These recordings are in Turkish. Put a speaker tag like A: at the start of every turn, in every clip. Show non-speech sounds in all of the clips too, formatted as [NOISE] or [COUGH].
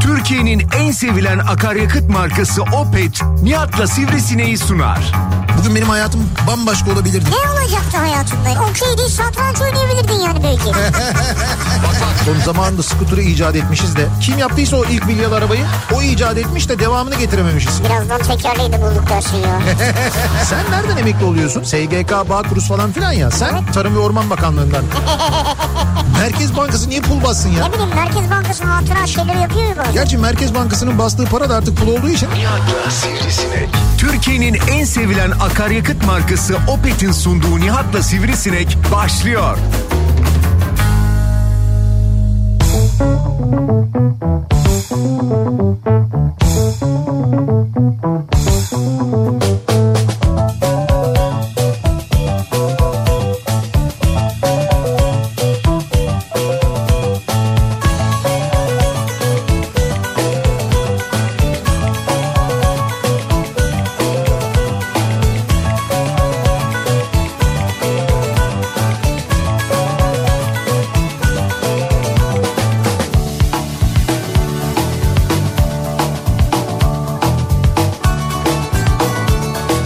A: Türkiye'nin en sevilen akaryakıt markası Opet, Nihat'la Sivrisine'yi sunar.
B: Bugün benim hayatım bambaşka olabilirdi.
C: Ne olacaktı hayatında? Okey değil satranç oynayabilirdin
B: [LAUGHS]
C: yani belki.
B: Son zamanında skuturu icat etmişiz de. Kim yaptıysa o ilk milyar arabayı o icat etmiş de devamını getirememişiz.
C: Birazdan tekerleği de bulduk
B: [LAUGHS]
C: dersin ya.
B: Sen nereden emekli oluyorsun? SGK, Bağkuruz falan filan ya. Sen Tarım ve Orman Bakanlığından. Merkez Bankası niye pul bassın ya?
C: ne bileyim Merkez Bankası'nın hatıra şeyleri yapıyor ya bazen.
B: Gerçi Merkez Bankası'nın bastığı para da artık pul olduğu için
A: Nihat'la Sivrisinek. Türkiye'nin en sevilen akaryakıt markası Opet'in sunduğu Nihat'la Sivrisinek başlıyor.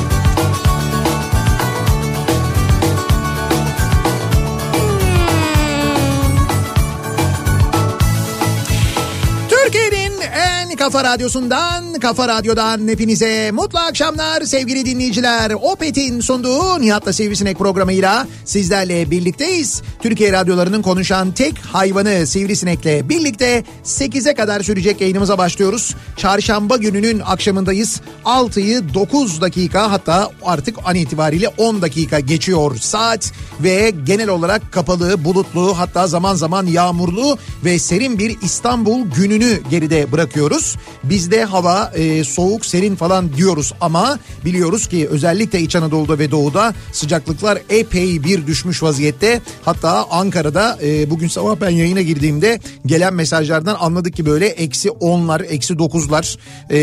B: Türkiye'nin en kafa radyosundan, kafa radyodan hepinize mutlu akşamlar sevgili dinleyiciler. Opet'in sunduğu Nihat'la Sivrisinek programıyla sizlerle birlikteyiz. Türkiye radyolarının konuşan tek hayvanı Sivrisinek'le birlikte 8'e kadar sürecek yayınımıza başlıyoruz. Çarşamba gününün akşamındayız. 6'yı 9 dakika hatta artık an itibariyle 10 dakika geçiyor saat ve genel olarak kapalı, bulutlu hatta zaman zaman yağmurlu ve serin bir İstanbul gününü geride bırakıyoruz. Bizde hava e, soğuk, serin falan diyoruz ama biliyoruz ki özellikle İç Anadolu'da ve Doğu'da sıcaklıklar epey bir düşmüş vaziyette. Hatta Ankara'da e, bugün sabah ben yayına girdiğimde gelen mesajlardan anladık ki böyle eksi 10'lar, eksi 9'lar e,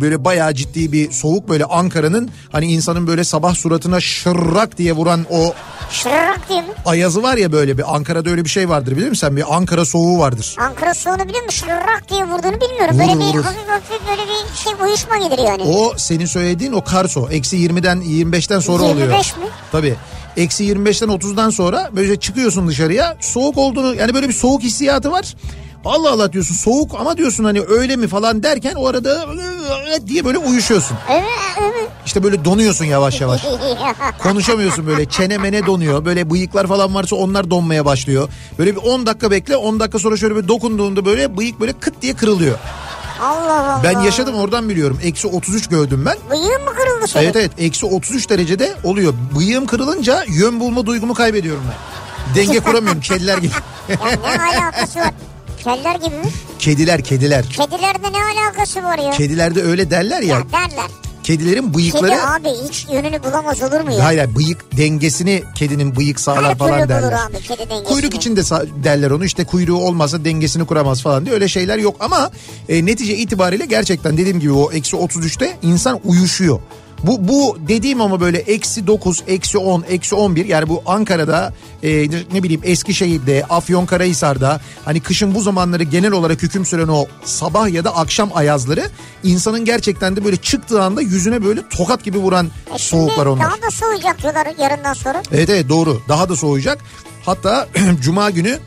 B: böyle bayağı ciddi bir soğuk böyle Ankara'nın hani insanın böyle sabah suratına şırrak diye vuran o
C: Şırrak diye mi?
B: ayazı var ya böyle bir Ankara'da öyle bir şey vardır bilir misin sen bir Ankara soğuğu vardır.
C: Ankara soğunu biliyor musun? Şırrak diye vurduğunu bilmiyorum. Böyle
B: Vurur,
C: bir
B: vurur.
C: hafif hafif böyle bir şey uyuşma gelir yani.
B: O senin söylediğin o karso. Eksi 20'den 25'ten sonra oluyor.
C: 25 mi?
B: Tabii. Eksi 25'ten 30'dan sonra böyle çıkıyorsun dışarıya. Soğuk olduğunu yani böyle bir soğuk hissiyatı var. Allah Allah diyorsun soğuk ama diyorsun hani öyle mi falan derken o arada diye böyle uyuşuyorsun.
C: Evet, evet.
B: İşte böyle donuyorsun yavaş yavaş. Konuşamıyorsun böyle çene mene donuyor. Böyle bıyıklar falan varsa onlar donmaya başlıyor. Böyle bir 10 dakika bekle 10 dakika sonra şöyle bir dokunduğunda böyle bıyık böyle kıt diye kırılıyor.
C: [LAUGHS] Allah Allah.
B: Ben yaşadım oradan biliyorum. Eksi 33 gördüm ben.
C: Bıyığın mı kırıldı senin?
B: Evet evet eksi 33 derecede oluyor. Bıyığım kırılınca yön bulma duygumu kaybediyorum ben. Denge kuramıyorum kediler
C: [LAUGHS]
B: gibi. [LAUGHS]
C: Ya ne alakası var? Keller gibi mi?
B: Kediler kediler.
C: Kedilerde ne alakası var ya?
B: Kedilerde öyle derler ya.
C: Ya derler.
B: Kedilerin
C: Kedi
B: bıyıkları...
C: abi hiç yönünü bulamaz olur mu ya?
B: Hayır hayır, bıyık dengesini kedinin bıyık sağlar
C: Her türlü
B: falan
C: bulur
B: derler.
C: abi kedi dengesini.
B: Kuyruk için de sa- derler onu işte kuyruğu olmasa dengesini kuramaz falan diye öyle şeyler yok ama e, netice itibariyle gerçekten dediğim gibi o eksi 33'te insan uyuşuyor. Bu, bu dediğim ama böyle eksi 9, eksi 10, eksi 11 yani bu Ankara'da e, ne bileyim Eskişehir'de, Afyonkarahisar'da hani kışın bu zamanları genel olarak hüküm süren o sabah ya da akşam ayazları insanın gerçekten de böyle çıktığı anda yüzüne böyle tokat gibi vuran
C: E şimdi
B: soğuklar onlar.
C: Daha da soğuyacak diyorlar yarından sonra.
B: Evet evet doğru. Daha da soğuyacak. Hatta [CLEARS THROAT] cuma günü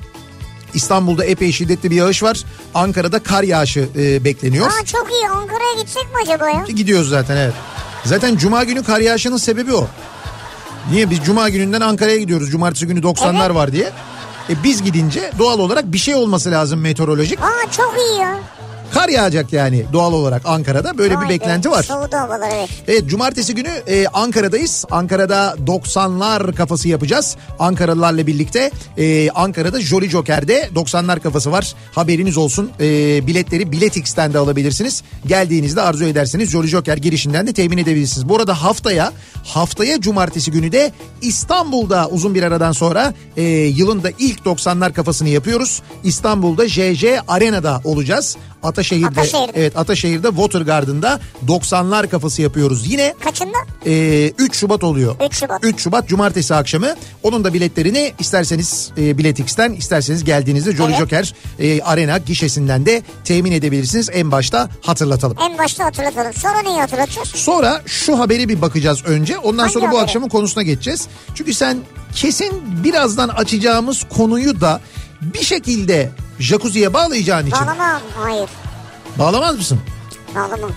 B: İstanbul'da epey şiddetli bir yağış var. Ankara'da kar yağışı e, bekleniyor.
C: Aa çok iyi Ankara'ya gitsek mi acaba ya?
B: Gidiyoruz zaten evet. Zaten cuma günü kar yağışının sebebi o. Niye biz cuma gününden Ankara'ya gidiyoruz. Cumartesi günü 90'lar var diye. E biz gidince doğal olarak bir şey olması lazım meteorolojik.
C: Aa çok iyi ya.
B: Kar yağacak yani doğal olarak Ankara'da böyle
C: Vay
B: bir
C: be,
B: beklenti var.
C: Soğudu havalar evet.
B: Evet cumartesi günü e, Ankara'dayız. Ankara'da 90'lar kafası yapacağız. Ankaralılarla birlikte e, Ankara'da Jolly Joker'de 90'lar kafası var. Haberiniz olsun. E, biletleri Biletix'ten de alabilirsiniz. Geldiğinizde arzu ederseniz Jolly Joker girişinden de temin edebilirsiniz. Bu arada haftaya haftaya cumartesi günü de İstanbul'da uzun bir aradan sonra e, yılın da ilk 90'lar kafasını yapıyoruz. İstanbul'da JJ Arena'da olacağız. Ataşehir'de, e,
C: Ataşehir'de.
B: evet Ataşehir'de Water Garden'da 90'lar kafası yapıyoruz. Yine
C: Kaçında?
B: e, 3 Şubat oluyor.
C: 3 Şubat.
B: 3 Şubat Cumartesi akşamı. Onun da biletlerini isterseniz e, biletix'ten isterseniz geldiğinizde Jolly
C: Evet.
B: Joker e, Arena gişesinden de temin edebilirsiniz. En başta hatırlatalım.
C: En başta hatırlatalım. Sonra neyi hatırlatacağız?
B: Sonra şu haberi bir bakacağız önce. Ondan
C: Hangi
B: sonra bu
C: haberi?
B: akşamın konusuna geçeceğiz. Çünkü sen kesin birazdan açacağımız konuyu da bir şekilde jacuzziye bağlayacağın için
C: Bağlamam. Hayır.
B: bağlamaz mısın?
C: Bağlamam.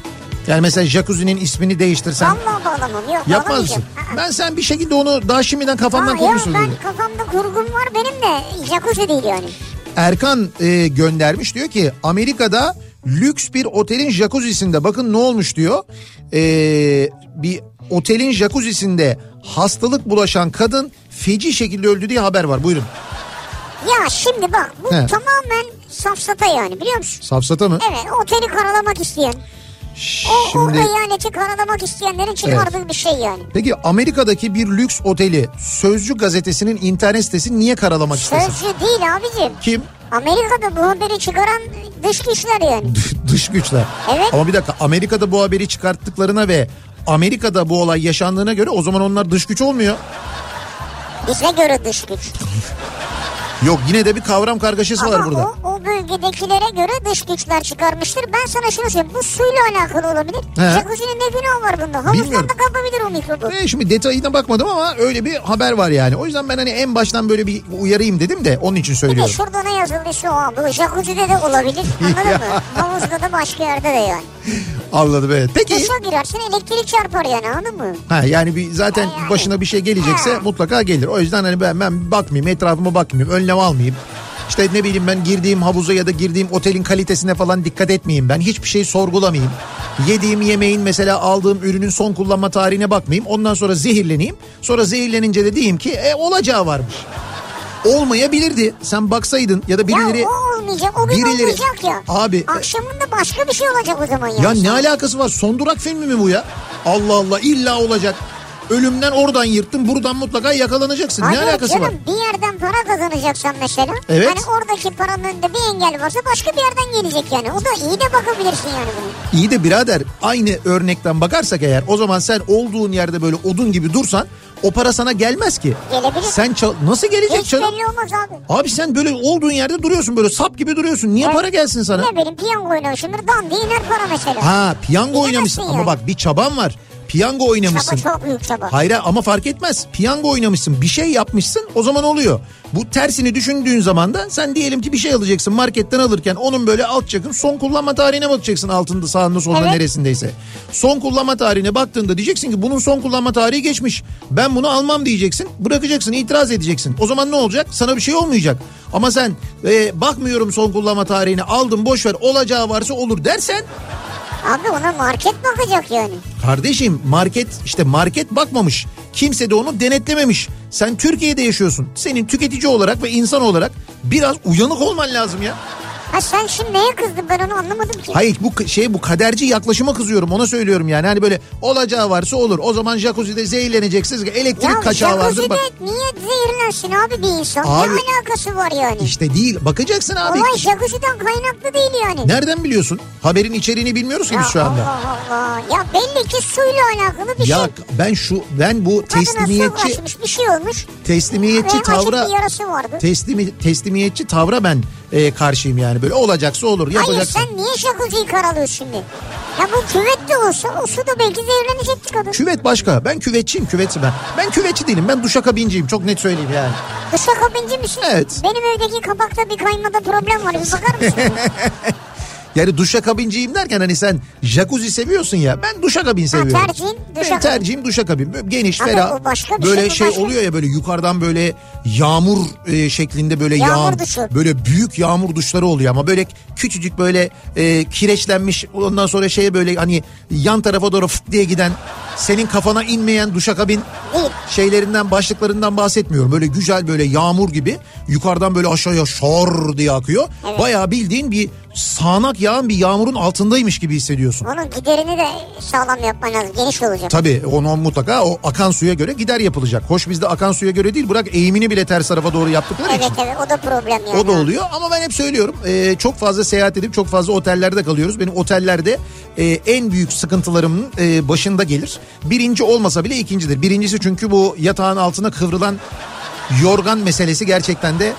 B: Yani mesela jacuzzi'nin ismini değiştirsen
C: Vallahi bağlamam. Yok
B: yapmaz mısın?
C: bağlamayacağım. Aa.
B: Ben sen bir şekilde onu daha şimdiden kafandan
C: Aa, yok
B: koymuşsun.
C: ben
B: dedi.
C: kafamda kurgum var benim de. Jacuzzi değil yani.
B: Erkan e, göndermiş diyor ki Amerika'da lüks bir otelin jacuzzisinde bakın ne olmuş diyor. E, bir otelin jacuzzisinde hastalık bulaşan kadın feci şekilde öldü diye haber var. Buyurun.
C: Ya şimdi bak bu
B: He.
C: tamamen safsata yani biliyor musun?
B: Safsata mı?
C: Evet oteli karalamak isteyen. e, O,
B: Şimdi
C: O eyaleti karalamak isteyenlerin çıkardığı bir şey yani.
B: peki Amerika'daki bir lüks oteli Sözcü gazetesinin internet sitesi niye karalamak istesin?
C: Sözcü değil abicim.
B: Kim?
C: Amerika'da bu haberi çıkaran dış güçler yani.
B: [LAUGHS] Dış güçler.
C: Evet.
B: Ama bir dakika Amerika'da bu haberi çıkarttıklarına ve Amerika'da bu olay yaşandığına göre o zaman onlar dış güç olmuyor.
C: Bize göre dış güç.
B: Yok yine de bir kavram kargaşası var
C: Ama
B: burada.
C: o, o bölgedekilere göre dış güçler çıkarmıştır. Ben sana şunu söyleyeyim. Bu suyla alakalı olabilir.
B: He.
C: Jacuzzi'nin ne günahı var bunda? Havuzdan
B: Bilmiyorum.
C: da kapabilir o mikrobu.
B: Ve E, şimdi detayına bakmadım ama öyle bir haber var yani. O yüzden ben hani en baştan böyle bir uyarayım dedim de onun için
C: Bir de
B: söylüyorum.
C: şurada ne yazıldıysa o an. Bu jacuzzi'de de
B: [LAUGHS]
C: olabilir. Anladın mı? Havuzda da başka yerde de yani.
B: Anladım evet. Peki.
C: Duşa girersin elektrik çarpar yani anladın mı?
B: Ha, yani bir zaten
C: Yani.
B: başına bir şey gelecekse
C: Ha.
B: mutlaka gelir. O yüzden hani ben, ben bakmayayım etrafıma bakmayayım önlem almayayım. İşte ne bileyim ben girdiğim havuza ya da girdiğim otelin kalitesine falan dikkat etmeyeyim. Ben hiçbir şey sorgulamayayım. Yediğim yemeğin mesela aldığım ürünün son kullanma tarihine bakmayayım. Ondan sonra zehirleneyim. Sonra zehirlenince de diyeyim ki e, olacağı varmış. Olmayabilirdi. Sen baksaydın ya da birileri...
C: ya o olmayacak. O gün
B: birileri-
C: olmayacak ya.
B: Abi- e,
C: Akşamında başka bir şey olacak o zaman ya.
B: Ya ne alakası var? Son durak filmi mi bu ya? Allah Allah illa olacak. Ölümden oradan yırttın buradan mutlaka yakalanacaksın.
C: Hayır
B: ne alakası
C: canım
B: var?
C: bir yerden para kazanacaksan mesela.
B: Evet.
C: Hani oradaki paranın önünde bir engel varsa başka bir yerden gelecek yani. O da iyi de bakabilirsin yani bunu.
B: İyi de birader aynı örnekten bakarsak eğer o zaman sen olduğun yerde böyle odun gibi dursan o para sana gelmez ki.
C: Gelebilir.
B: Sen çal- nasıl gelecek
C: Hiç
B: canım?
C: belli olmaz abi.
B: Abi sen böyle olduğun yerde duruyorsun böyle sap gibi duruyorsun. Niye
C: Evet.
B: para gelsin sana?
C: Ne bileyim piyango oynamışımdır. Dan diye iner para mesela.
B: Ha piyango
C: Bilemezsin
B: oynamışsın ama
C: yani.
B: bak bir çaban var. Piyango
C: Çaba
B: oynamışsın.
C: çok büyük çaba.
B: Hayır ama fark etmez. Piyango oynamışsın, bir şey yapmışsın o zaman oluyor. Bu tersini düşündüğün zaman da sen diyelim ki bir şey alacaksın marketten alırken onun böyle alt çakın son kullanma tarihine bakacaksın altında sağında solda
C: Evet.
B: neresindeyse. Son kullanma tarihine baktığında diyeceksin ki bunun son kullanma tarihi geçmiş. Ben bunu almam diyeceksin. Bırakacaksın, itiraz edeceksin. O zaman ne olacak? Sana bir şey olmayacak. Ama sen e, bakmıyorum son kullanma tarihine aldım boş ver olacağı varsa olur dersen
C: Abi ona market bakacak yani.
B: Kardeşim market işte market bakmamış. Kimse de onu denetlememiş. Sen Türkiye'de yaşıyorsun. Senin tüketici olarak ve insan olarak biraz uyanık olman lazım ya.
C: Ha sen şimdi neye kızdın ben onu anlamadım ki.
B: Hayır bu k- şey bu kaderci yaklaşıma kızıyorum. Ona söylüyorum yani. Hani böyle olacağı varsa olur. O zaman jacuzzi'de zehirleneceksiniz. Elektrik
C: ya
B: kaçağı vardır.
C: jacuzzi'de
B: Bak.
C: niye zehirlensin abi bir insan?
B: Abi-
C: Ne alakası var yani?
B: İşte değil. Bakacaksın abi.
C: Olay jacuzzi'den kaynaklı değil yani.
B: Nereden biliyorsun? Haberin içeriğini bilmiyoruz ki
C: Ya
B: biz şu anda.
C: Allah Allah. Ya belli ki suyla alakalı bir
B: Ya
C: şey.
B: ben şu ben bu
C: Kadına su
B: teslimiyetçi
C: bulaşmış bir şey olmuş.
B: teslimiyetçi
C: Ve
B: tavra
C: açık bir yarası vardı.
B: teslimi, teslimiyetçi tavra ben e, karşıyım yani. Böyle olacaksa olur
C: Hayır
B: yapacaksın.
C: sen niye jacuzziyi karalıyorsun şimdi? Ya bu küvet de olsa o su da belki zehirlenecekti kadın.
B: Küvet başka. Ben küvetçiyim küvetçi ben. Ben küvetçi değilim. Ben duşakabinciyim. Çok net söyleyeyim yani.
C: Dışa kapıncı bir şey.
B: Evet.
C: Benim evdeki kapakta bir kaymada problem var. Bir bakar
B: [LAUGHS]
C: mısın?
B: Yani duşakabinciyim derken hani sen jacuzzi seviyorsun ya. Ben duşakabin seviyorum.
C: tercihin
B: Benim
C: duşakabin.
B: tercihim duşakabin. Böyle geniş,
C: Ama
B: ferah.
C: o başka bir
B: böyle
C: şey, bu
B: şey
C: başka-
B: oluyor ya böyle yukarıdan böyle yağmur e, şeklinde böyle
C: Yağmur
B: yağan-
C: duşu.
B: Böyle büyük yağmur duşları oluyor ama böyle küçücük böyle e, kireçlenmiş ondan sonra şeye böyle hani yan tarafa doğru fıt diye giden senin kafana inmeyen duşakabin
C: Değil.
B: şeylerinden başlıklarından bahsetmiyorum. Böyle güzel böyle yağmur gibi yukarıdan böyle aşağıya şor diye akıyor. Bayağı bildiğin bir sağanak yağan bir yağmurun altındaymış gibi hissediyorsun.
C: Onun giderini de sağlam yapman lazım. Geniş olacak.
B: Tabii onu mutlaka o akan suya göre gider yapılacak. Hoş bizde akan suya göre değil bırak eğimini bile ters tarafa doğru yaptıkları
C: Evet
B: için.
C: evet o da problem yani.
B: O da oluyor ama ben hep söylüyorum e, çok fazla seyahat edip çok fazla otellerde kalıyoruz. Benim otellerde e, en büyük sıkıntılarımın e, başında gelir. Birinci olmasa bile ikincidir. Birincisi çünkü bu yatağın altına kıvrılan yorgan meselesi gerçekten de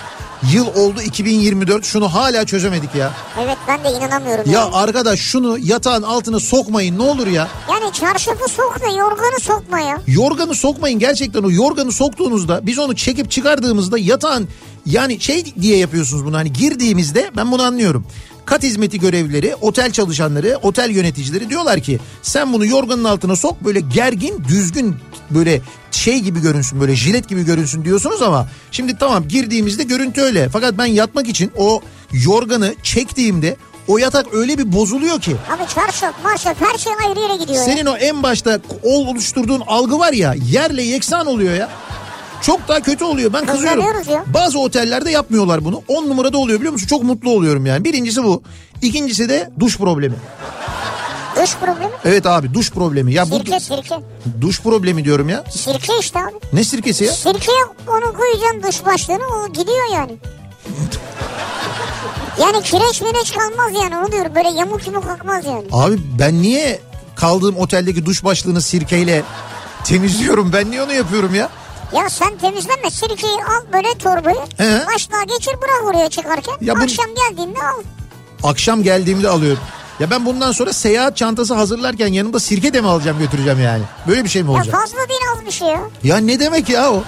B: yıl oldu 2024 şunu hala çözemedik ya.
C: Evet ben de inanamıyorum.
B: Ya
C: yani.
B: arkadaş şunu yatağın altına sokmayın ne olur ya.
C: yani çarşafı sokma yorganı sokma ya.
B: Yorganı sokmayın gerçekten o yorganı soktuğunuzda biz onu çekip çıkardığımızda yatağın yani şey diye yapıyorsunuz bunu hani girdiğimizde ben bunu anlıyorum. Kat hizmeti görevlileri, otel çalışanları, otel yöneticileri diyorlar ki sen bunu yorganın altına sok böyle gergin, düzgün böyle şey gibi görünsün böyle jilet gibi görünsün diyorsunuz ama şimdi tamam girdiğimizde görüntü öyle. Fakat ben yatmak için o yorganı çektiğimde o yatak öyle bir bozuluyor ki.
C: Abi çarşaf marşaf her şey ayrı yere gidiyor ya.
B: Senin o en başta ol oluşturduğun algı var ya yerle yeksan oluyor ya. Çok daha kötü oluyor. Ben kızıyorum.
C: Kızarıyoruz ya.
B: Bazı otellerde yapmıyorlar bunu. 10 numarada oluyor biliyor musun? Çok mutlu oluyorum yani. Birincisi bu. İkincisi de duş problemi.
C: Dış problemi.
B: Evet abi duş problemi. Ya bu
C: Sirke sirke.
B: duş problemi diyorum ya.
C: Sirke işte abi.
B: Ne sirkesi ya?
C: Sirkeye onu koyacaksın dış başlığını o
B: [LAUGHS]
C: gidiyor yani. yani kireç mireç kalmaz yani onu diyorum böyle yamuk yumuk akmaz yani.
B: Abi ben niye kaldığım oteldeki duş başlığını sirkeyle temizliyorum? Ben niye onu yapıyorum ya?
C: Ya sen temizleme sirkeyi al böyle torbayı
B: He.
C: başlığa geçir bırak oraya çıkarken
B: Ya bu-
C: akşam geldiğinde al.
B: Akşam geldiğimde alıyorum. Ya ben bundan sonra seyahat çantası hazırlarken yanımda sirke de mi alacağım götüreceğim yani? Böyle bir şey mi
C: Ya
B: olacak?
C: fazla değil az bir şey ya.
B: Ya ne demek ya o?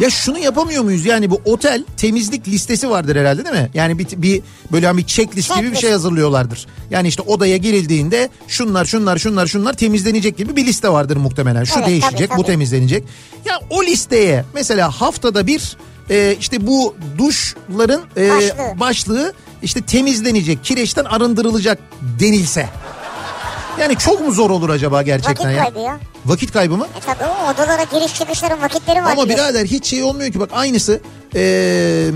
B: Ya şunu yapamıyor muyuz? Yani bu otel temizlik listesi vardır herhalde değil mi? Yani bir, bir böyle hani bir checklist gibi bir şey
C: Checklist.
B: hazırlıyorlardır. Yani işte odaya girildiğinde şunlar şunlar şunlar şunlar temizlenecek gibi bir liste vardır muhtemelen. Şu
C: Evet, tabii,
B: değişecek, bu
C: tabii.
B: temizlenecek. Ya o listeye mesela haftada bir e, işte bu duşların e,
C: Başlığı.
B: başlığı işte temizlenecek, kireçten arındırılacak denilse. Yani çok mu zor olur acaba gerçekten
C: Vakit
B: ya?
C: kaybı ya.
B: Vakit kaybı mı?
C: E tabi o odalara giriş çıkışların vakitleri var.
B: Ama
C: biliyorsun.
B: birader hiç şey olmuyor ki bak aynısı eee,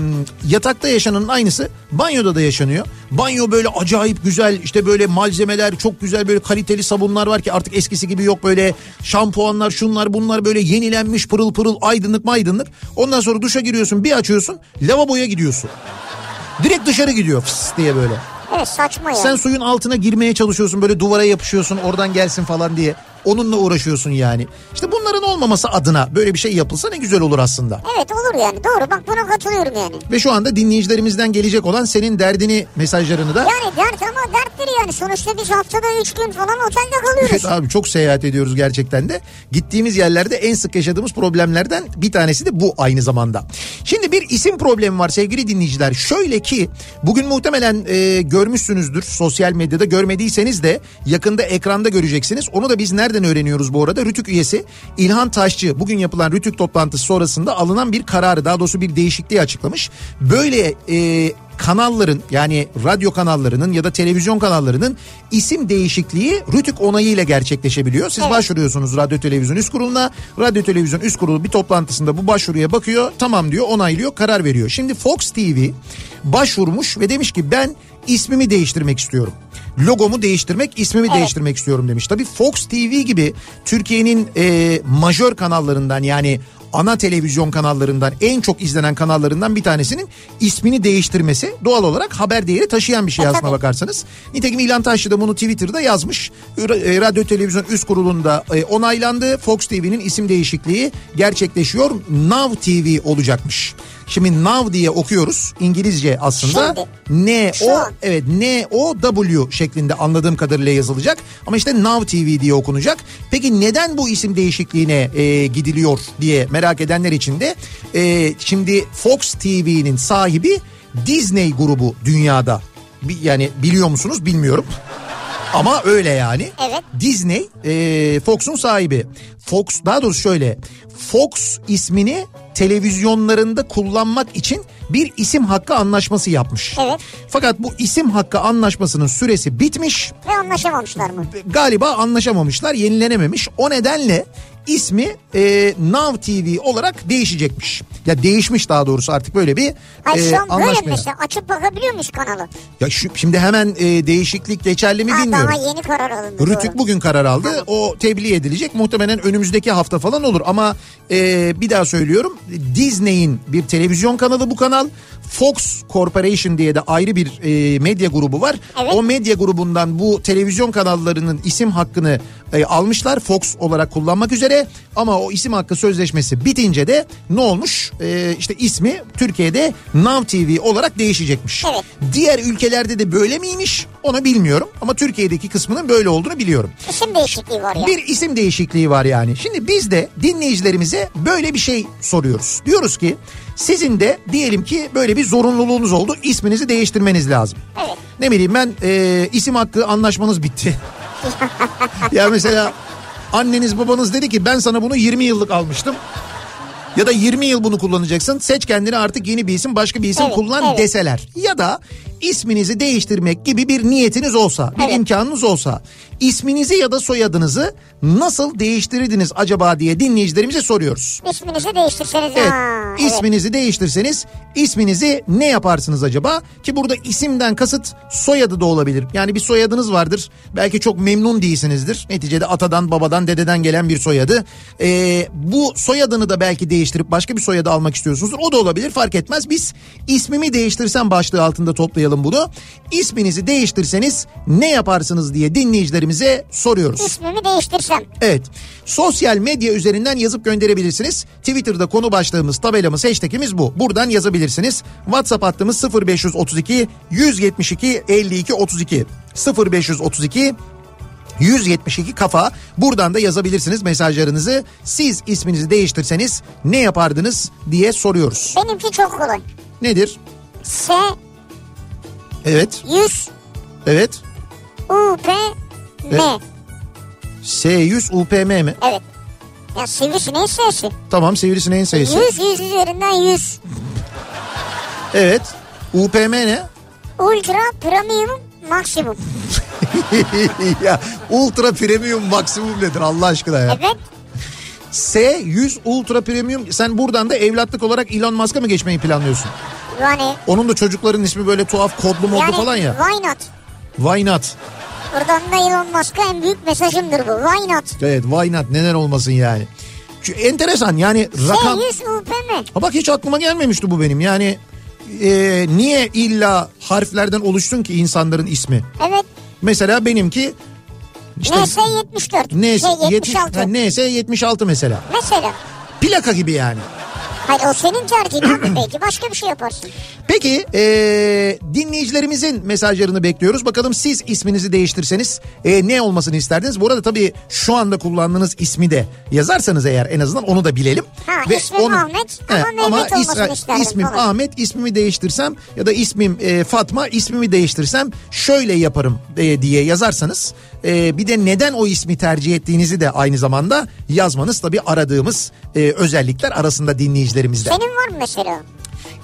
B: yatakta yaşananın aynısı banyoda da yaşanıyor. Banyo böyle acayip güzel işte böyle malzemeler çok güzel böyle kaliteli sabunlar var ki artık eskisi gibi yok böyle şampuanlar şunlar bunlar böyle yenilenmiş pırıl pırıl aydınlık maydınlık. Ondan sonra duşa giriyorsun bir açıyorsun lavaboya gidiyorsun. Direkt dışarı gidiyor fıs diye böyle.
C: Evet saçma ya.
B: Sen suyun altına girmeye çalışıyorsun böyle duvara yapışıyorsun oradan gelsin falan diye. Onunla uğraşıyorsun yani. İşte bunların olmaması adına böyle bir şey yapılsa ne güzel olur aslında.
C: Evet olur yani doğru bak buna katılıyorum yani.
B: Ve şu anda dinleyicilerimizden gelecek olan senin derdini mesajlarını da...
C: Yani dert ama derttir yani sonuçta biz haftada 3 gün falan otelde
B: Evet
C: kalıyoruz.
B: abi çok seyahat ediyoruz gerçekten de. Gittiğimiz yerlerde en sık yaşadığımız problemlerden bir tanesi de bu aynı zamanda. Şimdi bir isim problemi var sevgili dinleyiciler. Şöyle ki bugün muhtemelen e, görmüşsünüzdür sosyal medyada görmediyseniz de yakında ekranda göreceksiniz. Onu da biz nereden öğreniyoruz bu arada? Rütük üyesi İlhan Taşçı bugün yapılan Rütük toplantısı sonrasında alınan bir kararı daha doğrusu bir değişikliği açıklamış. Böyle e, kanalların yani radyo kanallarının ya da televizyon kanallarının isim değişikliği Rütük onayıyla gerçekleşebiliyor. Siz başvuruyorsunuz radyo televizyon üst kuruluna. Radyo televizyon üst kurulu bir toplantısında bu başvuruya bakıyor. Tamam diyor onaylıyor karar veriyor. Şimdi Fox TV başvurmuş ve demiş ki ben ismimi değiştirmek istiyorum. Logomu değiştirmek, ismimi değiştirmek istiyorum demiş. Tabii Fox TV gibi Türkiye'nin e, majör kanallarından yani ana televizyon kanallarından en çok izlenen kanallarından bir tanesinin ismini değiştirmesi doğal olarak haber değeri taşıyan bir şey
C: E,
B: aslına
C: tabii.
B: bakarsanız. Nitekim İlhan Taşçı da bunu Twitter'da yazmış. Ra- e, Radyo Televizyon Üst Kurulu'nda e, onaylandı. Fox TV'nin isim değişikliği gerçekleşiyor. Now TV olacakmış. Şimdi Now diye okuyoruz. İngilizce aslında. N
C: Şu
B: o
C: an.
B: evet N O W şeklinde anladığım kadarıyla yazılacak. Ama işte Now TV diye okunacak. Peki neden bu isim değişikliğine e, gidiliyor diye merak edenler için de e, şimdi Fox TV'nin sahibi Disney grubu dünyada. Bi- Yani biliyor musunuz bilmiyorum. Ama öyle yani.
C: Evet.
B: Disney e, Fox'un sahibi. Fox daha doğrusu şöyle Fox ismini televizyonlarında kullanmak için bir isim hakkı anlaşması yapmış.
C: Evet.
B: Fakat bu isim hakkı anlaşmasının süresi bitmiş Ee,
C: Ve anlaşamamışlar mı?
B: galiba anlaşamamışlar, yenilenememiş. O nedenle ismi e, Now TV olarak değişecekmiş. Ya değişmiş daha doğrusu artık böyle bir
C: Ay
B: e,
C: şu an böyle mi
B: anlaşmaya.
C: mesela? Açıp bakabiliyor muyuz kanalı?
B: Ya şu, şimdi hemen e, değişiklik geçerli mi
C: Ha,
B: bilmiyorum.
C: daha yeni karar alındı.
B: Rütük
C: doğru.
B: bugün karar aldı. O tebliğ edilecek. Muhtemelen önümüzdeki hafta falan olur. Ama e, bir daha söylüyorum. Disney'in bir televizyon kanalı bu kanal. Fox Corporation diye de ayrı bir e, medya grubu var.
C: Evet.
B: O medya grubundan bu televizyon kanallarının isim hakkını e, almışlar. Fox olarak kullanmak üzere. Ama o isim hakkı sözleşmesi bitince de ne olmuş? E, işte ismi Türkiye'de Now TV olarak değişecekmiş.
C: Evet.
B: Diğer ülkelerde de böyle miymiş onu bilmiyorum ama Türkiye'deki kısmının böyle olduğunu biliyorum.
C: İsim değişikliği var ya.
B: Bir isim değişikliği var yani. Şimdi biz de dinleyicilerimize böyle bir şey soruyoruz. Diyoruz ki sizin de diyelim ki böyle bir zorunluluğunuz oldu isminizi değiştirmeniz lazım.
C: Evet.
B: Ne bileyim ben e, isim hakkı anlaşmanız
C: [LAUGHS]
B: bitti. ya mesela anneniz babanız dedi ki ben sana bunu 20 yıllık almıştım. Ya da 20 yıl bunu kullanacaksın. Seç kendine artık yeni bir isim başka bir isim
C: Evet,
B: kullan
C: evet.
B: deseler. Ya da isminizi değiştirmek gibi bir niyetiniz olsa, bir
C: Evet.
B: imkanınız olsa. isminizi ya da soyadınızı nasıl değiştirirdiniz acaba diye dinleyicilerimize soruyoruz.
C: İsminizi değiştirseniz.
B: Evet.
C: Ha, evet.
B: isminizi değiştirseniz isminizi ne yaparsınız acaba? Ki burada isimden kasıt soyadı da olabilir. Yani bir soyadınız vardır. Belki çok memnun değilsinizdir. Neticede atadan, babadan, dededen gelen bir soyadı. Ee, bu soyadını da belki değiştirip başka bir soyadı almak istiyorsunuzdur. O da olabilir fark etmez. Biz ismimi değiştirsem başlığı altında toplayalım bunu. İsminizi değiştirseniz ne yaparsınız diye dinleyicilerimize soruyoruz.
C: İsmimi değiştirsem.
B: Evet. Sosyal medya üzerinden yazıp gönderebilirsiniz. Twitter'da konu başlığımız, tabelamız, hashtagimiz bu. Buradan yazabilirsiniz. WhatsApp hattımız 0532 172 52 32 0532 172 kafa buradan da yazabilirsiniz mesajlarınızı. Siz isminizi değiştirseniz ne yapardınız diye soruyoruz.
C: Benimki çok kolay.
B: Nedir?
C: S,
B: Evet,
C: 100,
B: evet.
C: U, P, M.
B: Evet. S100 UPM mi?
C: Evet. Ya sivrisineğin S'si.
B: Tamam sivrisineğin sayısı.
C: 100, 100 üzerinden 100.
B: Evet. UPM ne?
C: Ultra, premium, maksimum.
B: ya ultra premium maksimum nedir Allah aşkına ya?
C: Evet.
B: S100 ultra premium sen buradan da evlatlık olarak Elon Musk'a mı geçmeyi planlıyorsun?
C: Yani.
B: Onun da çocukların ismi böyle tuhaf kodlu modlu
C: yani
B: falan ya.
C: Why not?
B: Why not?
C: Buradan da Elon Musk'a en büyük mesajımdır bu. Why not?
B: Evet why not neden olmasın yani. Şu enteresan yani rakam.
C: S100 UP mi?
B: Ha bak hiç aklıma gelmemişti bu benim yani. e, niye illa harflerden oluşsun ki insanların ismi?
C: Evet.
B: Mesela benimki işte
C: NS 74.
B: NS
C: Şey, 76.
B: 76. NS 76 mesela.
C: Mesela.
B: Plaka gibi yani.
C: Hayır o senin tercihin
B: [CLEARS THROAT]
C: abi belki başka bir şey yaparsın.
B: Peki eee, dinleyicilerimizin mesajlarını bekliyoruz. Bakalım siz isminizi değiştirseniz eee, ne olmasını isterdiniz? Bu arada tabii şu anda kullandığınız ismi de yazarsanız eğer en azından onu da bilelim.
C: Ha, ismim Ahmet ama Mehmet olmasını isterdim
B: ismim
C: falan.
B: Ahmet ismimi değiştirsem ya da ismim eee, Fatma ismimi değiştirsem şöyle yaparım eee, diye yazarsanız eee, bir de neden o ismi tercih ettiğinizi de aynı zamanda yazmanız tabii aradığımız eee, özellikler arasında dinleyicilerimizde.
C: Senin var mı mesela?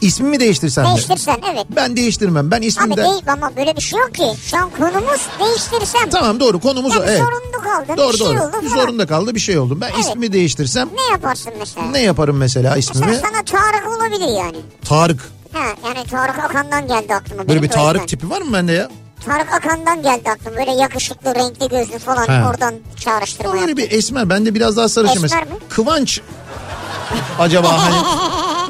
B: İsmimi değiştirsem mi?
C: Değiştirsen evet.
B: Ben değiştirmem. Ben
C: Abi
B: ismimde...
C: değil ama böyle bir şey yok ki. Şu an konumuz değiştirsem.
B: Tamam doğru konumuz o.
C: Yani
B: Evet.
C: zorunlu kaldın.
B: Doğru
C: bir şey
B: doğru.
C: oldu falan.
B: Zorunda kaldı bir şey oldum. Ben ismimi değiştirsem
C: Ne yaparsın mesela?
B: ne yaparım mesela
C: Mesela
B: ismimi?
C: sana Tarık olabilir yani.
B: Tarık.
C: Ha, yani Tarık Akan'dan geldi aklıma.
B: Böyle
C: benim
B: bir
C: de o yüzden.
B: Tarık tipi var mı bende ya?
C: Tarık Akan'dan geldi aklıma. Böyle yakışıklı, renkli gözlü falan
B: Ha.
C: oradan çağrıştırma
B: Böyle
C: [LAUGHS] yaptı.
B: bir esmer. Bende biraz daha sarışın
C: Esmer
B: mesela.
C: mi?
B: Kıvanç. Acaba
C: [LAUGHS]
B: hani
C: Ha,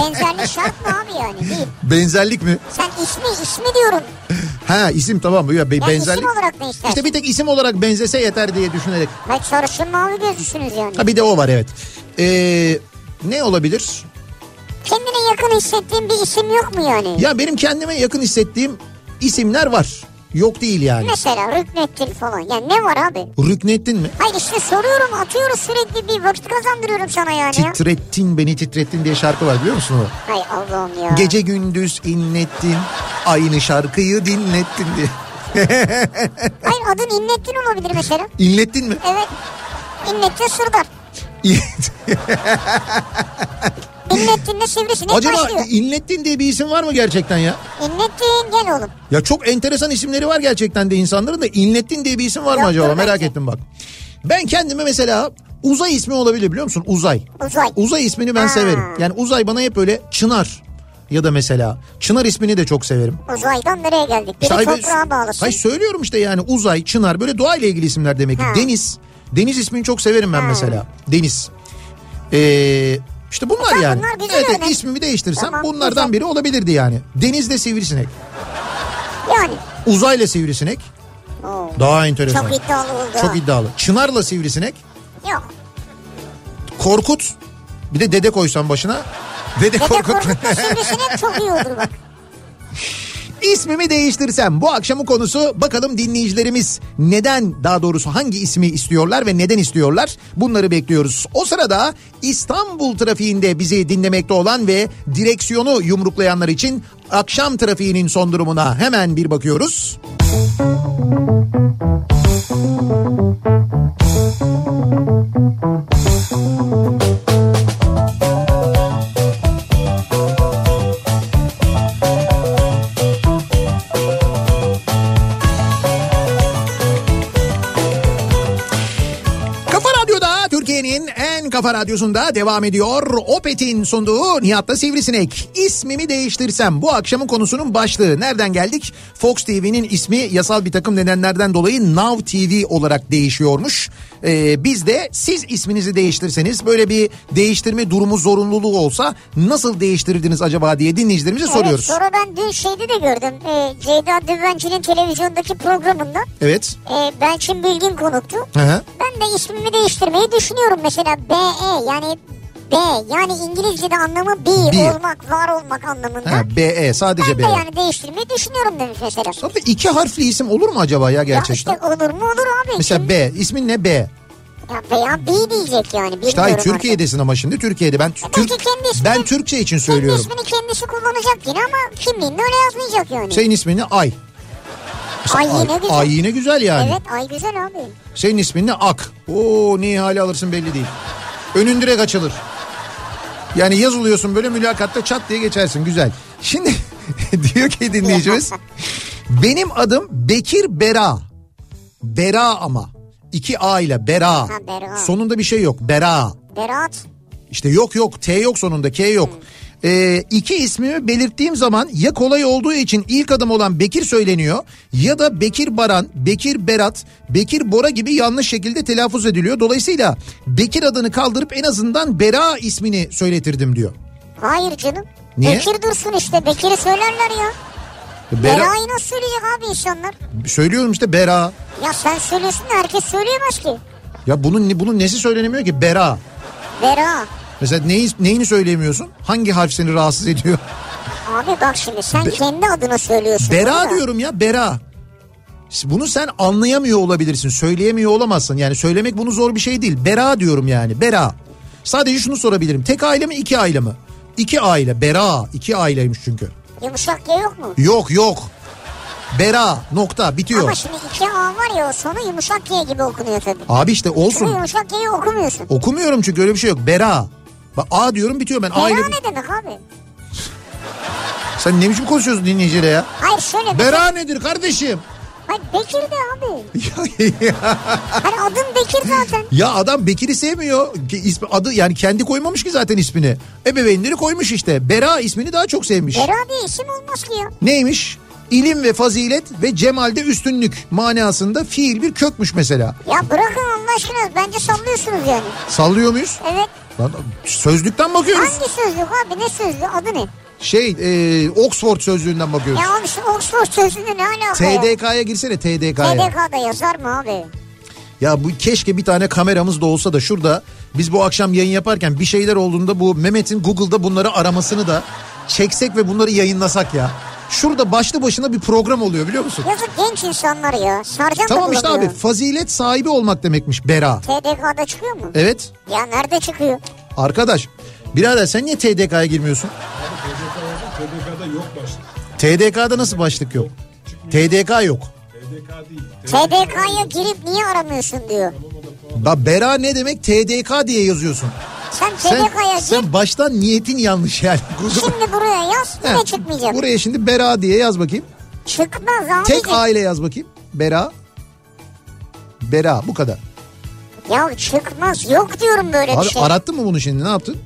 C: benzerlik şart mı abi yani? Değil.
B: benzerlik mi?
C: Sen ismi ismi diyorum.
B: Ha isim tamam. Ya, be-
C: Ben
B: benzerlik.
C: isim olarak ne istersin?
B: İşte bir tek isim olarak benzese yeter diye düşünerek.
C: Bak sarışın mavi gözlüsünüz yani.
B: Ha bir de o var evet. Ee, ne olabilir?
C: Kendine yakın hissettiğin bir isim yok mu yani?
B: Ya benim kendime yakın hissettiğim isimler var. Yok değil yani.
C: Mesela Rüknettin falan. Yani ne var abi?
B: Rüknettin mi?
C: Hayır işte soruyorum atıyoruz sürekli bir vakit kazandırıyorum sana yani ya.
B: Titrettin beni titrettin diye şarkı var biliyor musun o?
C: Hay Allah'ım ya.
B: Gece gündüz inlettin aynı şarkıyı dinlettin diye.
C: Hayır adın İnnettin olabilir mesela.
B: İnlettin mi?
C: Evet. İnnettin Sırdar. İnnettin de
B: [LAUGHS]
C: sivrisine
B: Acaba
C: başlıyor.
B: İnlettin diye bir isim var mı gerçekten ya?
C: İnnettin gel oğlum.
B: Ya çok enteresan isimleri var gerçekten de insanların da İnlettin diye bir isim var mı
C: Yoktur
B: acaba? Merak
C: bence.
B: ettim bak. Ben kendime mesela Uzay ismi olabilir biliyor musun? Uzay.
C: Uzay.
B: Uzay ismini ben
C: Ha.
B: severim. Yani uzay bana hep böyle Çınar ya da mesela Çınar ismini de çok severim.
C: Uzaydan nereye geldik? Biri
B: İşte ay-
C: toprağa bağlısın.
B: Hayır söylüyorum işte yani uzay, çınar böyle doğayla ilgili isimler demek ki.
C: Ha.
B: Deniz. Deniz ismini çok severim ben mesela. Deniz. Ee, işte bunlar
C: Güzel,
B: yani.
C: E bunlar güzel
B: evet, evet,
C: örnek.
B: ismimi değiştirsem
C: Tamam,
B: bunlardan
C: güzel.
B: biri olabilirdi yani. Denizle sivrisinek.
C: Yani.
B: Uzayla sivrisinek.
C: Oo.
B: Daha enteresan.
C: Çok iddialı oldu.
B: Çok
C: ha.
B: iddialı. Çınarla sivrisinek.
C: Yok.
B: Korkut. Bir de dede koysan başına. Dede,
C: Dede
B: Korkut.
C: Korkut'la
B: [LAUGHS]
C: sivrisinek çok iyi olur bak.
B: İsmimi değiştirsem bu akşamın konusu bakalım dinleyicilerimiz neden daha doğrusu hangi ismi istiyorlar ve neden istiyorlar bunları bekliyoruz. O sırada İstanbul trafiğinde bizi dinlemekte olan ve direksiyonu yumruklayanlar için akşam trafiğinin son durumuna hemen bir bakıyoruz. Kafa Radyo'da Türkiye'nin en kafa radyosunda devam ediyor. Opet'in sunduğu Nihat'la Sivrisinek. İsmimi değiştirsem bu akşamın konusunun başlığı. Nereden geldik? Fox TV'nin ismi yasal bir takım nedenlerden dolayı Now TV olarak değişiyormuş. Ee, biz de siz isminizi değiştirseniz böyle bir değiştirme durumu zorunluluğu olsa nasıl değiştirirdiniz acaba diye dinleyicilerimize
C: Evet,
B: [LAUGHS] soruyoruz.
C: sonra ben dün şeyde de gördüm. Ee, Ceyda Düvenci'nin televizyondaki programında
B: Evet.
C: e, Belçin Bilgin konuktu.
B: Hı hı.
C: Ben de ismimi değiştirmeyi düşünüyorum mesela. BE yani B yani İngilizce'de anlamı be
B: Be.
C: olmak, var olmak anlamında.
B: Ha, BE sadece
C: ben de
B: BE.
C: yani değiştirmeyi düşünüyorum demiş mesela.
B: Tabii iki harfli isim olur mu acaba ya
C: Ya
B: gerçekten?
C: işte olur mu olur abi.
B: Mesela
C: Şimdi-
B: B. ismin ne B?
C: Ya veya B diyecek yani. Bilmiyorum
B: İşte hayır
C: artık.
B: Türkiye'desin ama şimdi Türkiye'de ben Türk
C: belki kendi ismini-
B: ben Türkçe için
C: Kendi
B: söylüyorum.
C: ismini kendisi kullanacak yine ama kimliğinde öyle yazmayacak yani.
B: Senin ismini Ay. Mesela
C: Ay yine güzel.
B: Şey, Ay yine güzel yani.
C: Evet ay güzel abi.
B: Senin ismin ne Ak. Oo niye hale alırsın belli değil. Önün direkt açılır. Yani yazılıyorsun böyle mülakatta çat diye geçersin güzel. Şimdi [LAUGHS] diyor ki
C: [LAUGHS]
B: dinleyicimiz benim adım Bekir Bera. Bera ama. iki A ile Bera.
C: Bera.
B: Sonunda bir şey yok. Bera.
C: Berat.
B: İşte yok yok T yok sonunda K yok. Ee, iki ismimi belirttiğim zaman ya kolay olduğu için ilk adım olan Bekir söyleniyor ya da Bekir Baran, Bekir Berat, Bekir Bora gibi yanlış şekilde telaffuz ediliyor. Dolayısıyla Bekir adını kaldırıp en azından Bera ismini söyletirdim diyor.
C: Hayır canım.
B: Niye?
C: Bekir dursun işte. Bekir'i söylerler ya.
B: Bera,
C: Bera'yı nasıl söyleyecek abi insanlar?
B: söylüyorum işte Bera.
C: Ya sen söylüyorsun da herkes söyleyemez ki.
B: Ya bunun ne- bunun nesi söylenemiyor ki Bera?
C: Bera.
B: Mesela neyi, neyini söyleyemiyorsun? Hangi harf seni rahatsız ediyor?
C: Abi bak şimdi sen kendi adını söylüyorsun.
B: Bera
C: burada.
B: diyorum ya Bera. Bunu sen anlayamıyor olabilirsin. Söyleyemiyor olamazsın. Yani söylemek bunu zor bir şey değil. Bera diyorum yani. Bera. Sadece şunu sorabilirim. Tek aile mi iki aile mi? İki aile. Bera. iki aileymiş çünkü.
C: Yumuşak ya yok mu?
B: Yok yok. Bera nokta bitiyor.
C: Ama şimdi iki A var ya o sonu yumuşak Y gibi okunuyor tabii.
B: Abi işte
C: Şunu
B: olsun.
C: yumuşak Y'yi okumuyorsun.
B: Okumuyorum çünkü öyle bir şey yok. Bera. Bak A diyorum bitiyor ben. A ile...
C: Bera ne demek abi?
B: Sen ne biçim konuşuyorsun dinleyiciyle ya?
C: Hayır şöyle.
B: Bera nedir kardeşim? [LAUGHS]
C: Hayır Bekir de abi.
B: Ya- ya-
C: Hani adım Bekir zaten.
B: Ya adam Bekir'i sevmiyor. Ki ismi adı yani kendi koymamış ki zaten ismini. Ebeveynleri koymuş işte. Bera ismini daha çok sevmiş.
C: Bera diye isim olmaz ki ya.
B: Neymiş? İlim ve fazilet ve cemalde üstünlük manasında fiil bir kökmüş mesela.
C: Ya bırakın Allah aşkına bence sallıyorsunuz yani.
B: Sallıyor muyuz?
C: Evet.
B: Lan sözlükten bakıyoruz.
C: Hangi sözlük abi ne sözlüğü adı ne?
B: Şey e, Oxford sözlüğünden bakıyoruz.
C: Ya abi şu Oxford sözlüğü ne alaka ya?
B: TDK'ya girsene TDK'ya.
C: TDK'da yazar mı abi?
B: Ya bu keşke bir tane kameramız da olsa da şurada biz bu akşam yayın yaparken bir şeyler olduğunda bu Mehmet'in Google'da bunları aramasını da çeksek ve bunları yayınlasak ya. Şurada başlı başına bir program oluyor biliyor musun?
C: Yazık genç insanlar ya. Sarcan
B: Tamam
C: da
B: işte abi
C: bulamıyor.
B: fazilet sahibi olmak demekmiş Bera.
C: TDK'da çıkıyor mu?
B: Evet
C: Ya nerede çıkıyor?
B: arkadaş birader sen niye TDK'ya girmiyorsun?
D: TDK'da yok başlık.
B: TDK'da nasıl başlık yok? TDK yok.
D: TDK değil.
C: TDK'ya girip niye aramıyorsun diyor.
B: Bak Bera ne demek TDK diye yazıyorsun.
C: Sen
B: Sen,
C: TDK'ya gir
B: sen baştan niyetin yanlış yani. Google-
C: şimdi buraya yaz
B: Heh,
C: yine çıkmayacak.
B: Buraya şimdi Bera diye yaz bakayım.
C: Çıkmaz abi.
B: Tek aile yaz bakayım. Bera. Bera bu kadar.
C: Ya çıkmaz yok diyorum böyle bir
B: Abi
C: şey.
B: arattın mı bunu şimdi ne yaptın?